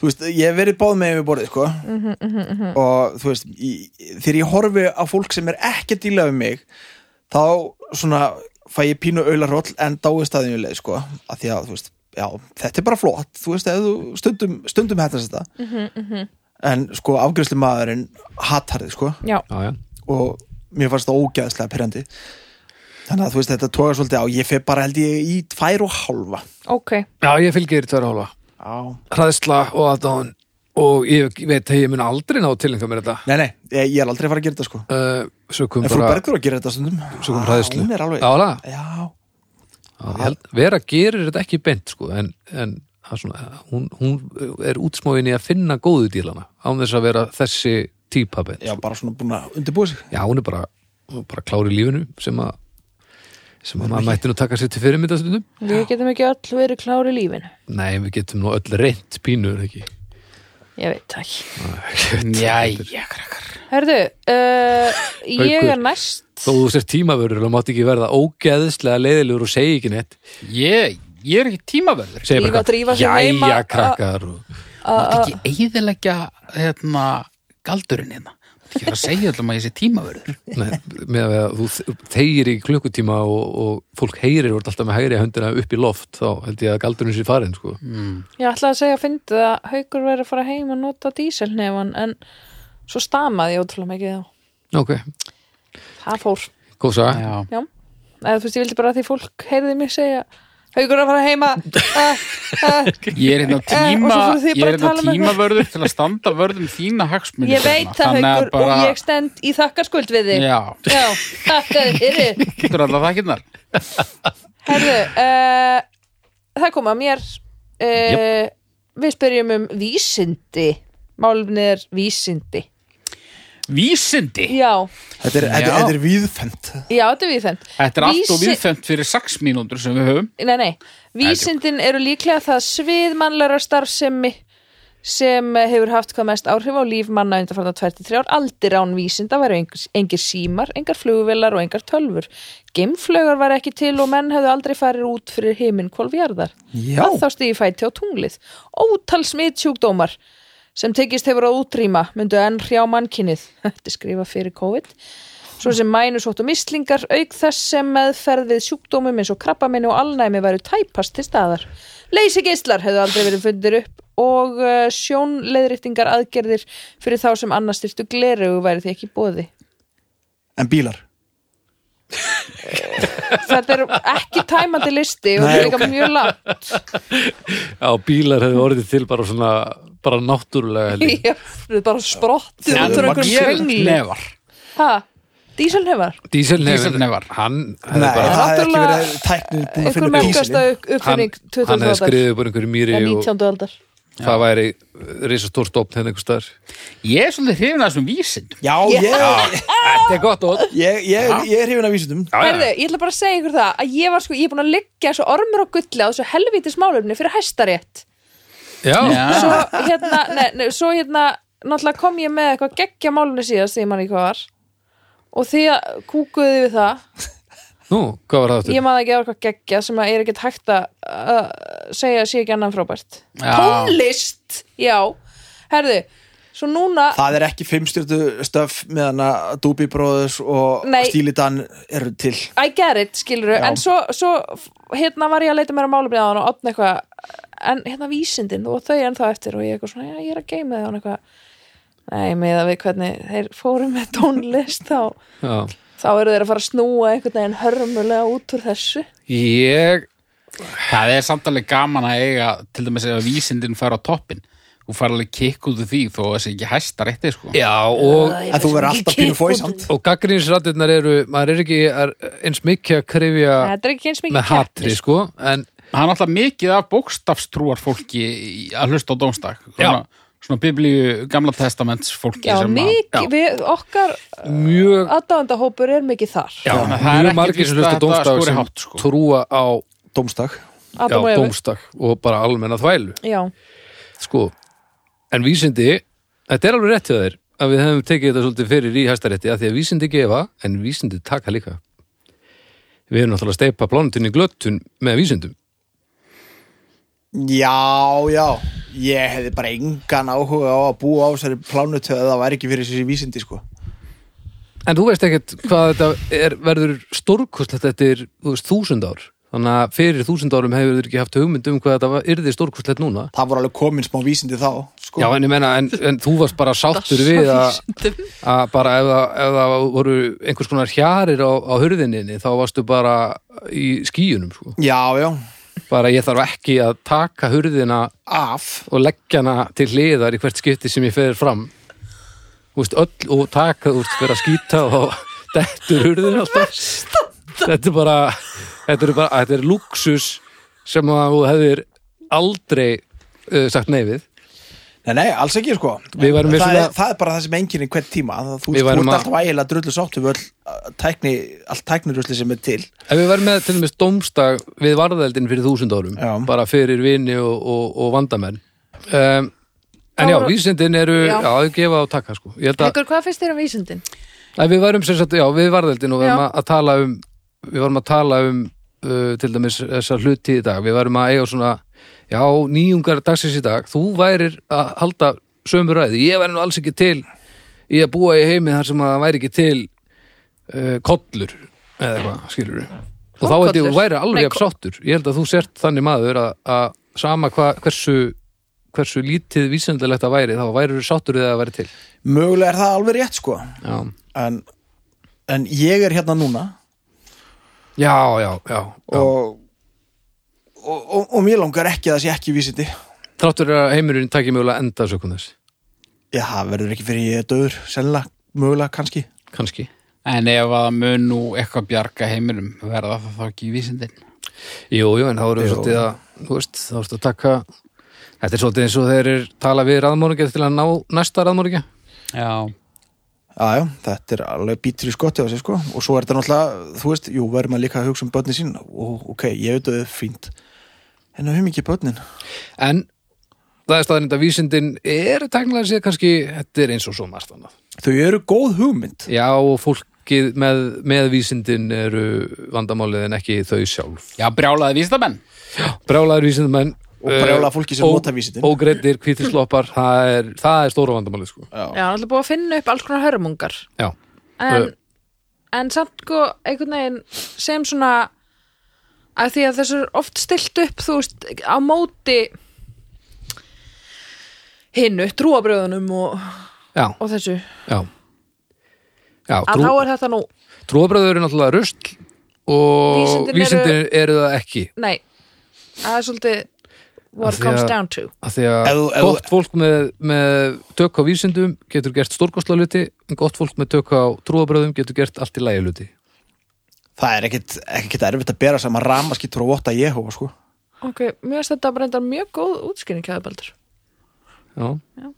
þú veist, ég hef verið báð með yfir borðið, sko
Mhm,
og þú veist, í, þegar ég horfi á fólk sem er ekki að díla við mig þá svona fæ ég pínu auðlaroll en dái staðinjuleg, sko að því að, þú veist, já, þetta er bara flott þú veist, ef þú stundum, stundum hættast þetta
Mhm,
en sko, afgjörslu maðurinn hattar þið, sko
já,
Já, já.
og mér fannst það ógæðslega pyrrandi þannig að þú veist, þetta tóka svolítið á ég fer bara, held ég, í tvær og hálfa
ok
já, ég fylgir tverra hálfa.
Já.
hræðsla og aðdáðan og ég veit að ég mun aldrei ná til einhver mér þetta
Nei, nei, ég, ég er aldrei að fara að gera þetta, sko
uh, svo kom
En frú
bara
Bergur að gera þetta stundum
svo kom hræðslu
Hún er alveg
Já, alveg.
Já,
Já, ég held- Vera gerir þetta ekki beint sko, en, en það er svona, hún, hún er útsmóin í að finna góðu dílana án þess að vera þessi típa beint
já, bara svona búin að undirbúa sig
Já, hún er bara, hún er bara klár í lífinu sem að sem að maður mætti nú taka sér til fyrirmynda stundum
við getum ekki öll verið klári í lífinu
Nei, við getum nú öll reynt pínur ekki
ég veit það ekki
jæja krakkar
herðu, uh, ég
Haukur.
er næst
Þó þú sér tímavörur og mátt ekki verða ógeðslega leiðilegur og segja ekki neitt
ég, ég er ekki tímaverður
segja
Drífa-
bara
drífa
eitthvað,
sig heim
jæja
að-
krakkar og
mátt ekki eigðilegja hérna, galdurinn hérna mátt ekki vera að segja allum að ég sé tímaverður
Nei, með að þú þegir í klukkutíma og, og fólk heyrir og ert alltaf með hægri höndina upp í loft þá held ég að galdurinn sér farin sko.
Ég ætlaði að segja að fyndið að haukur verið að fara heim og nota díselnefan en svo stamaði ég ótrúlega mikið þá.
ok,
Það fór,
góð saga
já
já. Eða þú veist, ég vildi bara að því fólk heyrði mér segja haukur er að fara heima uh, uh,
Ég er
[laughs] Eh,
hérna
og
tíma,
svo fóruð þið
ég
bara
er
að tala um
hérna tímavörður til að standa vörðum þína hagsmunni.
ég veit það haukur og ég stend í þakkarskuld við þig.
Já,
Já, þakka þið fyrir.
getur alltaf þakkirnar.
Herðu, uh, það kom að mér. Uh, Við spyrjum um vísindi. Málumni er vísindi.
Vísindi.
Já,
Þetta er, þetta,
Já.
þetta er viðfend
já, þetta er við þend.
Þetta er allt og viðfemt fyrir sex mínútur sem við höfum.
Nei, nei, vísindin eru líklega það sviðmannlara starfsemi sem hefur haft hvað mest áhrif á líf manna undanfarna 23 ár aldir án vísinda væru engir, engir símar, engar flugvélar og engar tölfur. Gemflögar var ekki til og menn hefðu aldrei farið út fyrir heiminn kvolfjarðar.
Já.
þá stigi fæti á tunglið. Ótal smitsjúkdómar sem tekist hefur að útrýma myndu enn hrjá mannkinnið. [laughs] Þetta er skrifa fyrir COVID svo sem mænusótt og mislingar auk þess sem meðferð við sjúkdómum eins og krabbaminni og alnæmi væru tæpast til staðar. Leysigeislar hefðu aldrei verið fundir upp og uh, sjónleiðrýttingar aðgerðir fyrir þá sem annars styrtu gleru væri því ekki bóði.
En bílar
Þetta er ekki tæmandi listi og
Nei,
þetta er líka mjög langt.
á bílar hefur orðið til bara svona bara náttúrulega
[laughs]
held ég.
Ég er bara sprottu
En
út úr einhverjum
Ég er
svengli.
nefar.
Hæ? Dísalnefar?
Díselnefar
Díselnefar.
hann
Nei,
hefði bara
það hefði ekki
náttúrulega-
verið tæknir búin að
Einhver
finna upp
merkasta
dísilin
upp-
hann,
uppfinning
hann hefði
2000 aldar.
skriðið upp úr einhverju mýri
eða
og
19. aldar.
það væri risastór stofn henni einhver staðar
Ég er svolítið hrifin að þessum vísindum.
Já, ég,
Þetta er gott og
ég, ég, ég er hrifin af vísundum
Herðu, ég ætla bara að segja ykkur það að ég var sko, ég er búin að liggja svo ormur og gulli á þessu helvítis málefni fyrir hæstarétt
Já,
Já.
svo hérna, nei, nei, svo hérna náttúrulega kom ég með eitthvað geggja málunni síðast sem hann eitthvað var og því að kúkuðu við það
nú, hvað var það aftur?
ég maður ekki að eitthvað geggja sem að er ekkert hægt að að segja sé ekki annan frábært
Já.
tónlist, já herðu, svo núna
Það er ekki fimmstjörtu stöf meðan að Doobie Brothers og
Nei.
Stílidan eru til
I get it, skilur en svo, svo hérna var ég að leita mér að málefni á hann og opna eitthvað en hérna vísindin og þau ennþá eftir og ég eitthvað svona, já, ég er að geima þau og hann eitthvað nei, með að við hvernig þeir fórum með tónlist þá,
Já.
þá eru þeir að fara að snúa einhvern veginn hörmulega út úr þessu
Ég
Það er samtalið gaman að eiga til dæmis ef að vísindin fara á toppin og fara alveg kikk út af því þó að það sé ekki hæsta rétti sko.
Já, og,
Æ, ég
En þú
veit
verður
ekki,
alltaf pínu
kikk
fóisamt
út.
og gaggrinsrættirnar eru maður er ekki er eins mikið að krifja
þetta er ekki eins mikið
með hatri,
keppni,
sko en
Það er náttúrulega mikið af bókstafstrúar fólki í- að hlusta á dómstak svona, svona biblíu gamla testaments fólki
já,
sem að-
mikið, við, okkar uh,
mjög
aðdáendahópur er mikið þar
Já, þannig að það
mjög
er ekki
margir sem hlusta á
víst að þetta
dómstag
skori
sem
hátt, sko.
trúa á
Dómstak
já,
Adam og Evu.
dómstag og bara almenna þvælu
já,
sko. en vísindi þetta er alveg rétt hjá þér að við hefum tekið þetta svolítið fyrir í hæstarétti að því að vísindi gefa en vísindi taka líka við erum náttúrulega að steipa plánutinni glöttun með vísindum
Já, já Ég hefði bara engan áhuga á að búa á þessari plánutöð að það væri ekki fyrir þessi vísindi sko
en þú veist ekkert hvað þetta er, verður stórkostlegt eftir þú veist, þúsund ár þannig að fyrir þúsund árum hefur þú ekki haft hugmynd um hvað þetta var- yrði stórkostlegt núna
Það voru alveg komin smá vísindi þá sko.
Já, en ég menna, en, en þú varst bara sáttur við að að bara ef það, ef það voru einhvers konar hjarir á, á hurðininni þá varstu bara í skýjunum sko.
já, já.
bara ég þarf ekki að taka hurðina
Af
og leggja hana til hliðar í hvert skipti sem ég fer fram Þú veist, öll og taka þú veist, vera að skýta og [laughs] dettur hurðin alltaf þetta er bara þetta er, bara, þetta er luxus sem að þú hefðir aldrei uh, sagt nei við
Nei, nei, alls ekki sko
Við værum
það,
vissulega-
er, það er bara það sem enginni hvern tíma Það-
Við
Þú veist, þú
værum
ert
að-
alltaf ægilega drullu sátt við öll uh, tækni, allt tæknirusli sem er til
Ef við verðum með til dæmis dómstag við varðeldin fyrir þúsund árum,
Já.
bara fyrir vini og, og, og vandamenn. Um, en já,
voru-
vísindin eru, já,
Já.
þau gefa og taka sko. Ég held að,
Haukur, hvað finnst þér um vísindin?
að við varum sem sagt, já, við varðeldin og við
Já.
varum að, að tala um, við varum að tala um uh, til dæmis þessar hluti í dag. Við varum að eiga svona, já, nýjungar dagsins í dag. Þú værir að halda sömu ræði. Ég væri nú alls ekki til í að búa í heimi þar sem að það væri ekki til uh, kollur eða eitthvað, skilur við og þá held ég að
Kollur?
þú væri alveg
Nei,
jafn sáttur ég held að þú sért þannig maður að, að sama hva, hversu hversu lítið vísindalegt að væri þá væri þú sáttur við að það væri til
Mögulega er það alveg rétt sko
já,
En, en ég er hérna núna
já, já, já, já.
og, og, og, og mér langar ekki að það sé ekki vísindi
þráttur er að heimurinn takir mögulega enda sökum þess,
Já, það verður ekki fyrir ég er döður sennilega, mögulega kannski
kannski
En ef að það mun nú eitthvað bjarga heiminum verða það þá ekki í vísindin
jú, jú, en þá eru
Jú.
svolítið að þú veist, þá ertu að taka þetta er svolítið eins og þeir eru tala við raðmóringja til að ná næsta raðmóringja
Já,
Já, já, þetta er alveg bítur í skotti á sig sko og svo er þetta náttúrulega, þú veist, jú, verður maður líka að hugsa um börnin sín og ok, ég veit að það er fínt en það höfum ekki börnin
en það er staðarind að vísindin eru teknilega séð kannski, þetta er eins og svo margt annað.
Þau eru góð hugmynd
Já, og fólkið með, með vísindin eru vandamálið en ekki þau sjálf.
Já brjálaði vísindamenn
Brjálaður vísindumenn
Og brjálað
eh,
fólki sem notar vísindin.
Ógreiddir, kvítisloppar, það er, það er stóra vandamálið sko.
Já, hann ætla búið að finna upp alls konar hörmungar
Já,
en,
Ö.
en samt sko einhvern veginn sem svona að því að þessu er oft stilt upp þú veist á móti hinnu trúabröðunum og,
já,
og þessu
já. Já,
að
trú,
þá er þetta nú,
trúabröður eru náttúrulega rusl og
Vísindin eru-
vísindin eru það ekki.
nei það er svolítið
Af
what
því
it comes
að-
down to
Af því að
Ef þú- ef þú-
gott fólk með, með tök á vísindum getur gert stórkostla hluti en gott fólk með tök á trúabröðum getur gert allt í lægi hluti.
Það er ekkit, ekkit erfitt að bera saman ramaskittur og votta Jehova sko
ok, mér finnst þetta bara reyndar mjög góð útskýring hjá þér, Baldur
já.
Já.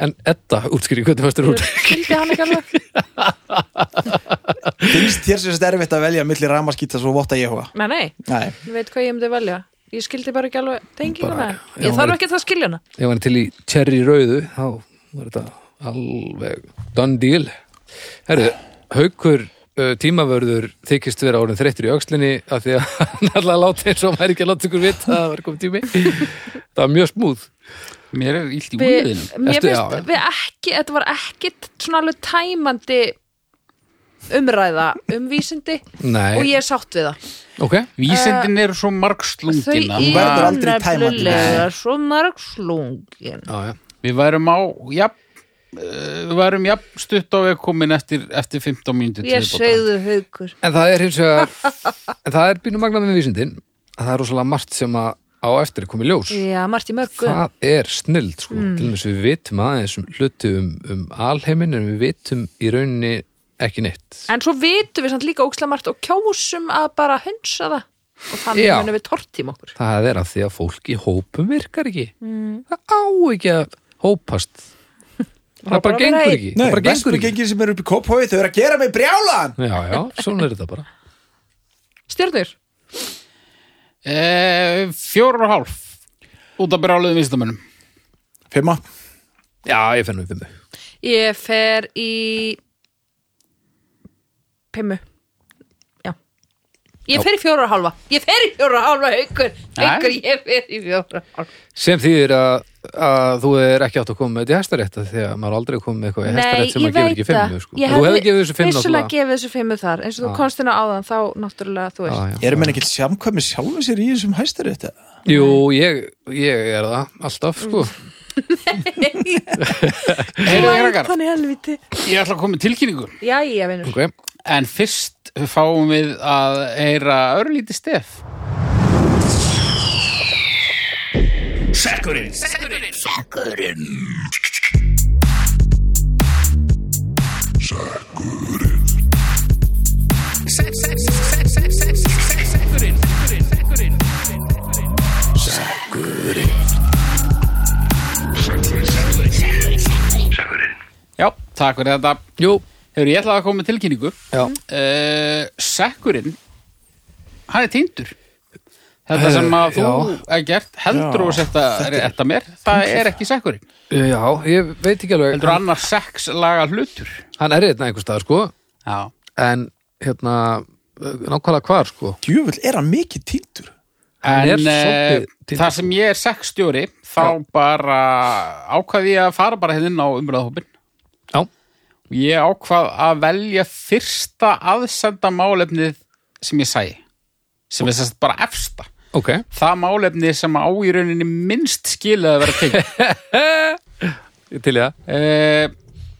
En Edda útskýri hvernig fannst þér út
Skildi hann ekki alveg
finnst þér sem þetta erfitt að velja milli ramaskýta svo votta ég huga
Nei, nei,
Nei,
ég veit hvað ég myndi velja Ég skildi bara ekki alveg tenginguna
Bara- já,
Ég þarf
bara-
ekki það að skilja hana
Ef hann er til í Cherry Rauðu þá var þetta alveg done deal Herru, haukur uh, tímavörður þykist vera orðin þreyttur í öxlinni af því að [laughs] hann alltaf láti eins og hann er ekki að láta ykkur vita að það var komið tími Það var mjög smúð
Mér er illt í
Við,
úliðinum
mér
Ertu- já, já.
finnst við ekki, þetta var ekkit svona alveg tæmandi umræða um vísindi og
Nei,
ég er sátt við það
ok
Vísindin eru svo
Þau
margslungin
Hún verður
eru
aldrei tæmandi.
nefnilega svo mörg slungin
Já, já,
Við værum á jafn, uh, Við værum jafn stutt á við komin eftir, eftir 15 mínútur
Ég segðu haukur
En það er hins vegar en það er býnum magnað með vísindin að það er rosalega margt sem að á eftir er komið ljós
Já, Marti Möggu
Það er snild sko. til þess að við vitum aðeins um hluti um, um alheimin en við vitum í rauninni ekki neitt
En svo vitum við samt líka ókslega margt og kjósum að bara hunsa það og þannig
Já.
munum við tortím okkur
Það er að því að fólk í hópum virkar ekki Það á ekki að hópast Það bara
bara vera
gengur
einn.
ekki
Nei
Það bara gengur
vestu
ekki
gengir sem eru upp í kóphói þau eru að gera mig brjálaðan
Já, já, svona er þetta bara
Stjörnur,
e, Fjórar og hálf Út af brjáluðum vísindamönnum
Fimma,
Já, ég fennum við fimmu
ég fer í Pimmu Já Ég fer í fjóra og hálfa Ég fer í fjóra og hálfa haukur Haukur, ég fer í fjóra og hálfa
Sem þýðir að, að þú er ekki átt að koma með þetta í hestarétta því að maður aldrei komið með eitthvað í hestarétt sem að gefur ekki fimmu sko.
Ég
Þú hefði gefið þessu
hefði
fimmu
vissulega
náttúrulega. Ah.
gefið þessu fimmu þar eins og þú komst inn á áðan þá náttúrulega þú veist
Já, já.
eru menn ekki samkvæmi sjálfum sér í þessum hæstur þetta?
Jú, ég, ég er það alltaf sko
Heyrðu krakkar,
Þannig helviti
ég ætla að koma með tilkynningu
Jæja, vinur
okay.
En fyrst fáum við að heyra örlíti stef Já, takk fyrir þetta
Jú,
Hefur ég ætlaði að koma með tilkynningu
já
uh, Sekkurinn Hann er týndur Þetta sem að þú
Eh, já.
er gert heldur
Já,
og setta rétta mér það er ekki sekkurinn,
Já, ég veit ekki alveg
heldur annar sex laga hlutur
Hann er hérna einhvers staðar sko
Já,
En hérna, nákvæmlega hvar sko
Djöfull er hann mikið týndur
Hann er
en eh,
svolítið týndur.
það sem ég er sexstjóri þá bara ákvað ég að fara bara hérna inn á umræðahópin
Já,
ég ákvað að velja fyrsta aðsenda málefnið sem ég sæi sem er sérst bara efsta
ok
það málefni sem á í rauninni minnst skilið að vera tekið
Ég Til ég
uh,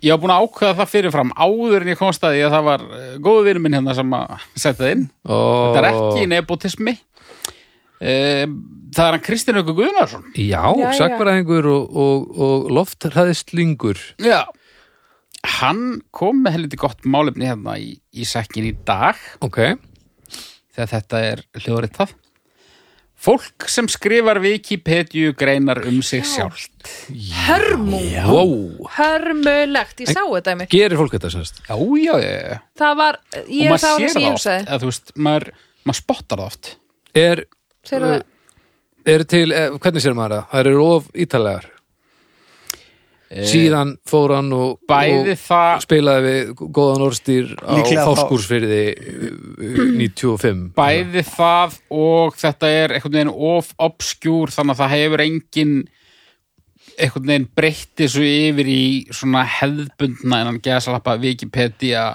ég var búin að ákveða það fyrirfram áður en ég komst að því að það var uh, góðu vinur minn hérna sem að setja það inn
oh.
þetta er ekki nepotismi uh, það er hann Kristinn Öku Guðnarsson
Já,
Já, já.
sakvaræðingur og, og, og loftræðislingur
já hann kom með helviti gott málefni hérna í, í sekkin í dag
Ok,
þegar þetta er hljóðrið það fólk sem skrifar Wikipedia greinar um sig sjálft
Hörmú
wow
Hörmulegt, ég sá þetta í mig
Gerir fólk þetta semst?
já, já, já, já
Það var, ég, hérna það var
og maður
það
sér
sem
það
ég
oft
hugsaði
eða þú veist, maður, maður spottar það oft
Er,
Þegar
Uh,
það-
er til, eh, hvernig sér maður það? Það eru of ítalegar Síðan fór hann og,
Eh, bæði
og
það
spilaði við góðan orðstýr á eh,
Líklega þá-
Fáskursfyrði 95
bæði það og þetta er einhvern veginn of obskjúr þannig að það hefur engin einhvern veginn breytti svo yfir í svona hefðbundna en hann geða salappa Wikipedia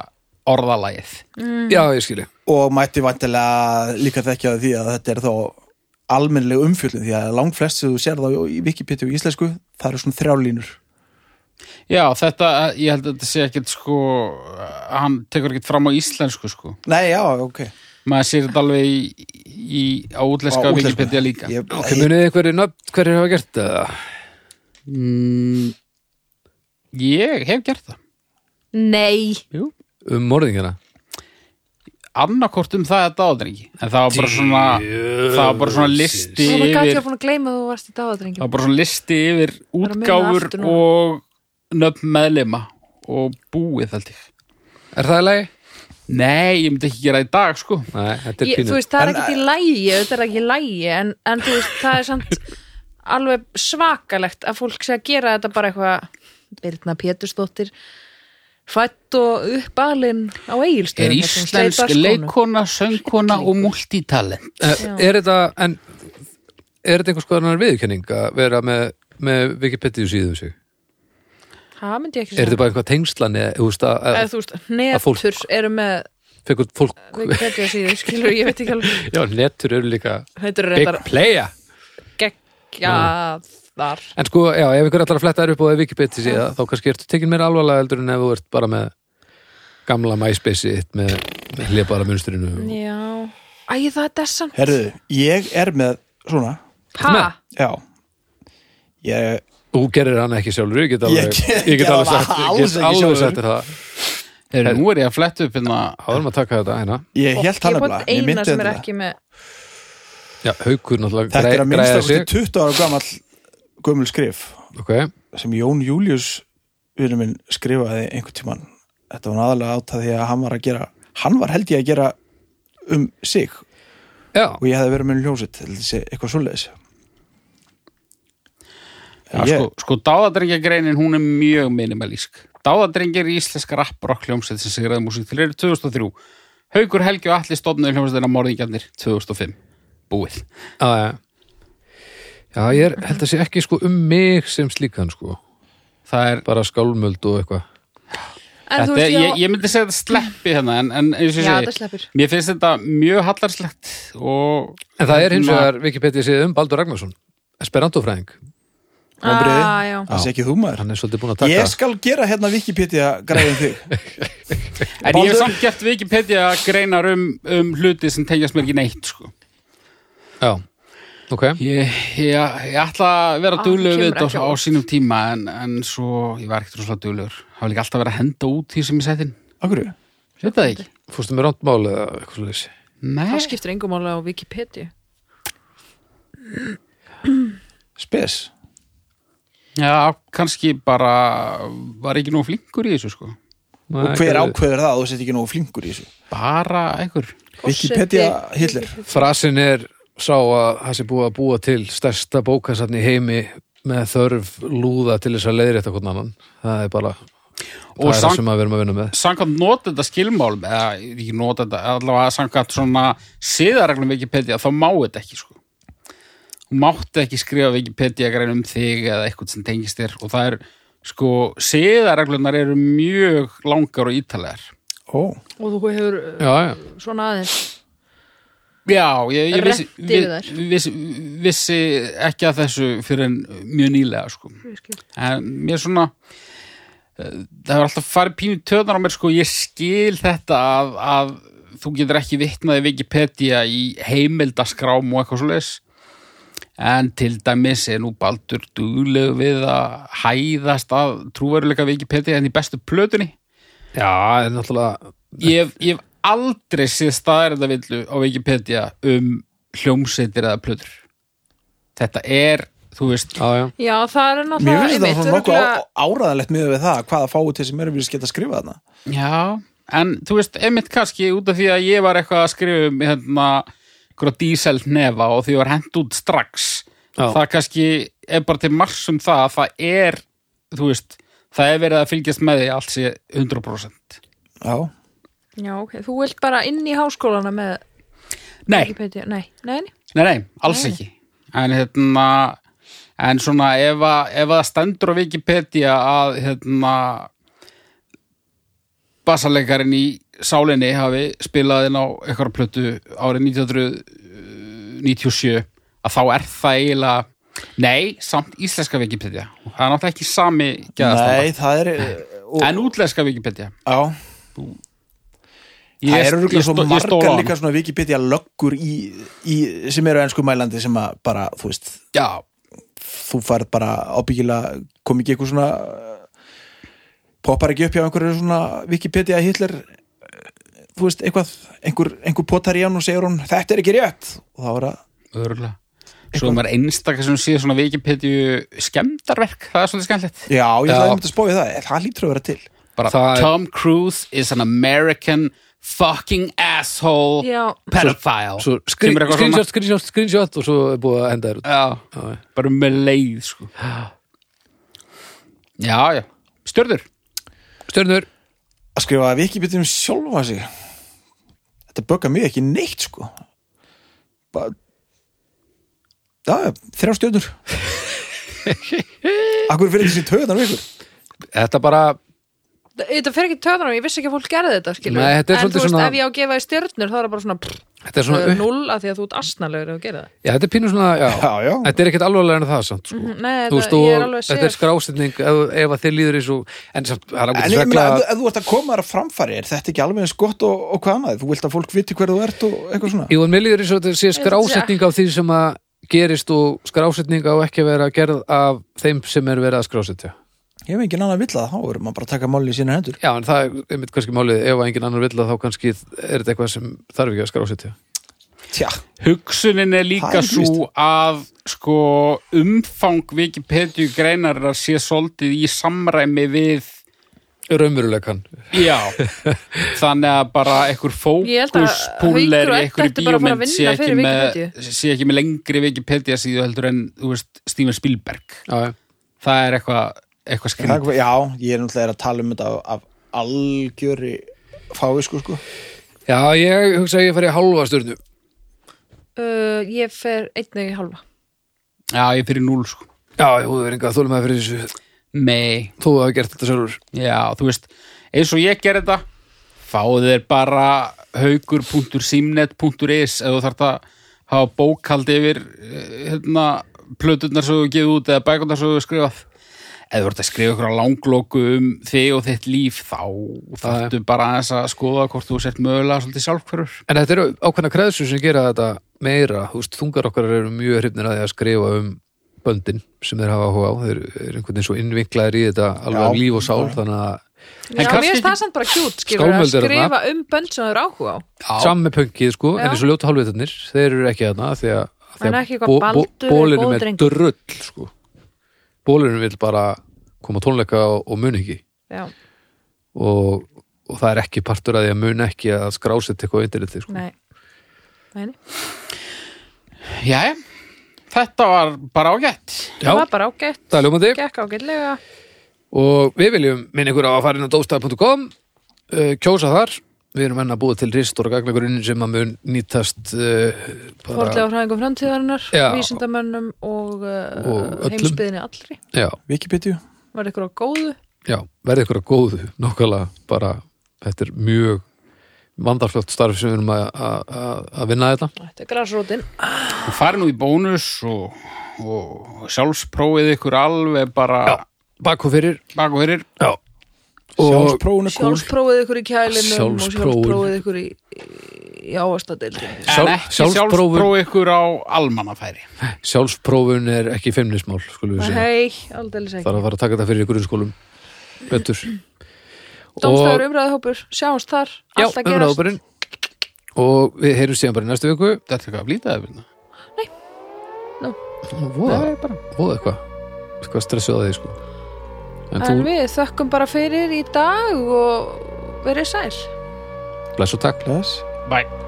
orðalagið
Mm. Já, ég skilji
og mætti vantilega líka þekkja því að þetta er þá almennileg umfjöllin því að langflest sem þú sér þá í Wikipedia og íslensku það eru svona þrjálínur
Já, þetta, ég held að þetta sé ekkert sko, hann tekur ekkert fram á íslensku sko,
Nei, já, ok
maður sér þetta alveg í, í á útlenska
Á útlensku.
Wikipedia líka
ég,
Ok, munið þið hverju nöfn, hverju hafa gert það?
mm, Ég hef gert það
Nei,
hérna. Um morðingina
annarkort um það að dáðrengi en það var bara svona það var bara svona listi
Það var gæti
yfir
að búin að gleyma að þú varst í
það
dagadrengjum
var bara svona listi yfir
að muna
útgáfur
aftur núna.
og nöfn meðlema og búið held ég
Er það í lagi?
Nei, ég myndi ekki gera það í dag sko
Nei, þetta er
Ég- Þú
pínu.
veist, það er
En,
ekkert í lægi, þetta er ekki í lægi en, en þú veist, það er samt alveg svakalegt að fólk sé að gera þetta bara eitthvað Birna Pétursdóttir fætt og uppalinn á eigilstöðum
Er íslensk leikona, söngkona og multitalent
Eh, Er þetta, en er þetta einhvers konar viðurkenning að vera með, með Wikipedia síðum sig?
Það myndi ég ekki
Er þetta
segja
bara eitthvað tengslan eða, þú veist, að,
Eða
að
þú veist,
fólk-
netur eru með
fekkur fólk,
Wikipedia síðu, skilur, ég veit ekki
[laughs]
alveg
já, netur eru líka
Þetta eru
big
reyndar
playa.
geggjaðar
En sko, já, ef ykkur allar að fletta er upp á því Wikipedia síða, þá kannski ertu tekin meira alvarlega heldur en ef þú ert bara með gamla MySpace-itt með, með hliðbara munsturinu. og-
Já Æ, það er samt
Herðu, ég er með svona,
Ha?
já ég,
Þú gerir hann ekki sjálfur, ég get alveg,
get-
ég get
gerði
alveg
það
sagt, ég
alls
get
ekki
alveg
sjálfur.
sagt þér það.
Er, Nú er ég að fletta upp hérna
Áðurum að taka þetta, hérna.
ég held hann
Ég bótt
nefnilega, ég
eina
myndi
sem er
þetta.
ekki með
Já, haukur náttúrulega
þetta
græ-
er að
græjar
minnsta
sig.
kosti 20 ára gamall gömul skrif
Ok,
sem Jón Július vinnum minn skrifaði einhvern tímann þetta var aðalega átt að því að hann var að gera hann var held ég að gera um sig og
já,
ég hefði verið með hljósitt eitthvað svoleiðis
Já, sko, sko dáðadrengjagreinin hún er mjög minimalísk. Dáðadrengjar í íslenska rapprock hljómsveit sem sigraði músík til eru 2003. Haukur Helgi og Alli stofnaði hljómsveitina morðingjarnir 2005. Búið.
já, já. Já, ég er, held að sé ekki sko um mig sem slíkan sko,
Það er,
bara skálmöld og eitthvað.
En þú
þetta,
veist,
er ég,
já,
ég myndi segja þetta sleppi hérna en, en eins og
já það
ég segi,
sleppur
mér finnst þetta mjög hallarslegt og
En það er hins
Hérna-
vegar Wikipedia síðan um Baldur Ragnarsson, esperantofræðing.
Vonbrigði.
Ah, já.
það sé ekki þú maður
Hann er svolítið búin að taka.
ég skal gera hérna Wikipedia græðin [laughs] þig
en ég
Baldur?
hef samt gert Wikipedia greinar um, um hluti sem tengjast mér ekki neitt sko.
Já, ok.
Ég, ég, ég ætla að vera
Ah,
duglegur
kemur
við þetta
ekki á
á á
óvart.
sínum tíma en, en svo ég var ekkert rosalega duglegur. Það var líka alltaf verið að henda út því sem ég settin.
okkur,
Veit það ekki?
Fórstu með rántmál eða eitthvað slúðis?
Nei.
Það skiptir engum mála á Wikipedia
spes
Já, kannski bara var ekki nóg flinkur í þessu sko.
og hver ákveður það að þú sett ekki nógu flinkur í þessu
Oh,
Bara einhver.
Wikipedia Hitler
Frasin er sá að það sé búið að búa til stærsta bókasatni í heimi með þörf lúða til þess að leiðrétta hvern annan. Það er bara, það
Og
er það
sang-
sem að við erum að vinna með.
Samkvæmt notenda skilmálum, eða ekki notenda, allavega samkvæmt svona siðareglum Wikipedia, þá má þetta ekki sko. Þú mátti ekki skrifa Wikipedia grein um þig eða eitthvað sem tengist þér og það er, sko, siðareglunar eru mjög langar og ítalegar.
ó,
Og þú hefur uh,
Já, já.
svona aðeins
Já, ég, ég vissi,
Rennt yfir
vi,
þær.
vissi, vissi ekki að þessu fyrir en mjög nýlega sko.
skil.
en mér svona eh, það hefur alltaf farið pínu töðnar á mér sko, ég skil þetta að, að þú getur ekki vitnaði Wikipedia í heimildaskrám og eitthvað svo leis en til dæmis er nú baldur duglegu við að hæðast að trúveruleika Wikipedia en í bestu plötunni
Já, en náttúrulega,
ég hef, ég hef aldrei séð staðarindavillu á Wikipedia um hljómsveitir eða plötur þetta er, þú veist
já, já.
Já, það er
mér
náttúrulega
finnst þetta
einmitt,
svona nokkuð
örugglega-
á- áræðanlegt miðað við það hvaða fáið til sem erum við að skrifa þarna
já, en þú veist, einmitt kannski út af því að ég var eitthvað að skrifa um hérna, einhverja dísel nefa og því var hent út strax
Já.
það kannski er bara til mars um það að það er, þú veist það er verið að fylgjast með því allt sé 100%
já,
Já, ok, þú vilt bara inn í háskólana með
nei,
Wikipedia Nei, nei, nei.
Nei, nei, alls
Nei.
ekki En hérna En svona ef að, ef að það stendur á Wikipedia að hérna bassalekarinn í sálinni hafi spilað inn á eitthvað plötu árið 1997 að þá er það eiginlega Nei, samt íslenska Wikipedia Það er náttúrulega ekki sami
nei,
gæðastanda
það er og,
En útlenska Wikipedia
já,
ég,
það eru
ég
rúglega svo
stó- ég stóla
margar
hann.
líka svona Wikipedia löggur í, í, sem eru ennsku mælandi sem að bara, þú veist,
Já,
þú færð bara ábyggilega kom ekki eitthvað svona eh, poppar ekki upp hjá einhverju svona Wikipedia Hitler eh, þú veist, eitthvað, einhver, einhver potar í hann og segir hún, þetta er ekki rétt og þá er það,
Örgulega. Svo er maður einstakar sem síðan svona Wikipedia skemmdarverk, það er svolítið skemmtilegt.
já, ég
Já.
ætlaði einmitt að spóið það eh, það lítur að vera til
Bara
Það er-
Tom Cruise is an American fucking asshole
Já.
pedophile.
Svo skrín,
Kemur eitthvað svona.
screenshot, screenshot, screenshot og svo er búið að henda þér út.
Já,
Já, já.
bara með leið, sko. Já, já. Stjörður.
Stjörnur,
að skrifa að við ekki byrjum sjálfa sig þetta böggar mjög ekki neitt sko bara já, þrjá stjórnur [laughs] Akkur fyrir þessi töðan vikur
þetta bara,
Þetta fer ekki töðanum, ég vissi ekki að fólk gerði þetta skilur.
Nei, þetta er
En
svolítið
þú veist,
svona-
ef ég á að gefa því stjörnur þá er það bara svona, prr,
þetta er
svona
svona, upp,
null af því að þú ert asnalegur ef þú gerir það
já, þetta er pínu svona, já,
Já, já.
þetta er ekkert alvarlega en það samt, sko.
Nei,
Þú
Mhm. þetta,
veist,
ég er
og
alveg
þetta er sko-
sér
skrásetning ef, ef að þið líður eins og, en samt, það er
En
ágætt
ég meina, ef,
svegla,
þú- ef þú ert að koma þar að framfæri er þetta ekki alveg eins gott og, og hvað maður þú vilt að fólk viti hver þú ert og eitthvað svona
jú, en mér líður eins og þetta sé skrásetning á því sem að gerist og skrásetning á ekki að vera gerð af þeim sem er verið að skrásetja.
Ég hef engin annan vill að þá erum maður bara að taka máli í sína hendur
Já, en það er mitt kannski málið, ef að engin annar vill að þá kannski er þetta eitthvað sem þarf ekki að skrásetja.
Tja,
Hugsunin er
Það
líka
er
svo að sko umfang Wikipedia greinar að sé svolítið í samræmi við
Raumurulegan.
já, þannig að bara einhver
Ég held að
fókuspúler
Haukur
í
og
einhverju
Edda ættu bara að fara að
bíómynd sé
vinna
ekki,
fyrir
með,
Wikipedia.
sé ekki með lengri Wikipedia síðu heldur en þú veist, Steven Spielberg
Já, já.
það er eitthvað eitthva skrýt
það, já, ég er náttúrulega að tala um þetta af, af algjöri fávisku sko
Já, ég hugsa að ég fari í halva stjörnu.
uh, Ég fer einnig í halva
já, ég fyrir núl sko
Já, ég húðu verið enga þólum að fyrir þessu.
mei,
Þú hafi gert þetta sjálfur.
já, þú veist eins og ég ger þetta fáðu þér bara haukur.simnet.is ef þú þarft að hafa bókald yfir eh, hérna, plöturnar sem þú hefur gefið út eða bækundar sem þú hefur skrifað ef þú ert að skrifa ykkur á langloku um þig og þitt líf þá þarftu bara aðeins að skoða hvort þú sért mögulega svolítið sjálfhverfur
En þetta eru ákveðna kreðsum sem gera þetta meira. Þú veist, þungar okkar eru mjög hrifnir að því að skrifa um böndin sem þeir hafa áhuga á. Þeir eru einhvern veginn svo innvinklaðir í þetta alveg
Já.
af líf og sál. Þannig að
Já,
kannski
mér finnst það
ekki-
samt bara kjút skilur að
Skálmöld eru þarna.
skrifa um bönd sem þú eru áhuga á
samme pönkið sko,
Já.
en eins og ljóta hálfvitarnir, þeir eru ekki þarna af því að, af því
En
að
ekki eitthvað Baldur er góður
bólunum er
drengur.
drull sko. Bólunum vil bara koma á tónleika og, og mun ekki.
Já,
Og, og það er ekki partur að því að mun ekki að skrásetta eitthvað á interneti sko.
nei Nei, nei.
Jæja, þetta var bara ágætt
það var bara ágætt
það er ljómandi.
Gekk ágætlega
Og við viljum minna ykkur á að fara inn á dóstað.com uh, kjósa þar við erum enn að búa til rist og gagnagurinn sem að mun nýtast uh,
Fórlega fræðingum framtíðarinnar,
Já.
vísindamönnum og, uh,
Og öllum.
heimsbyðinni allri
já,
Wikipedia
Var ykkur á góðu
já, verði ykkur að góðu nokkala bara, þetta er mjög vandarfljótt starf sem við erum að, að, að- að vinna þetta
Þetta er græsrótin
og fari nú í bónus og, og sjálfsprófið ykkur alveg bara
já, bak og fyrir
bak og fyrir
já. og
Sjálfsprófun er cool
Sjálfsprófið ykkur í kælinum og
Sjálfsprófun.
sjálfsprófið ykkur í, í- í ávastadeildinni
en
Sjálf-
ekki
sjálfsprófun.
sjálfsprófið ykkur á almannafæri
sjálfsprófun er ekki feimnismál skulum við segja,
Hei, aldeilis
það er
ekki
að fara að taka þetta fyrir ykkur í skólum betur
Dómstæður umræðahópur, sjáumst þar
Já,
um Allt að gerast
umræðuparinn Og við heyrum síðan bara í næstu viku
þetta er eitthvað að flýta það finna
Voða, voða eitthvað Eitthvað stressuð að því sko En
En
þú,
við þökkum bara fyrir í dag og verið sæl
bless og takk
Bless
bye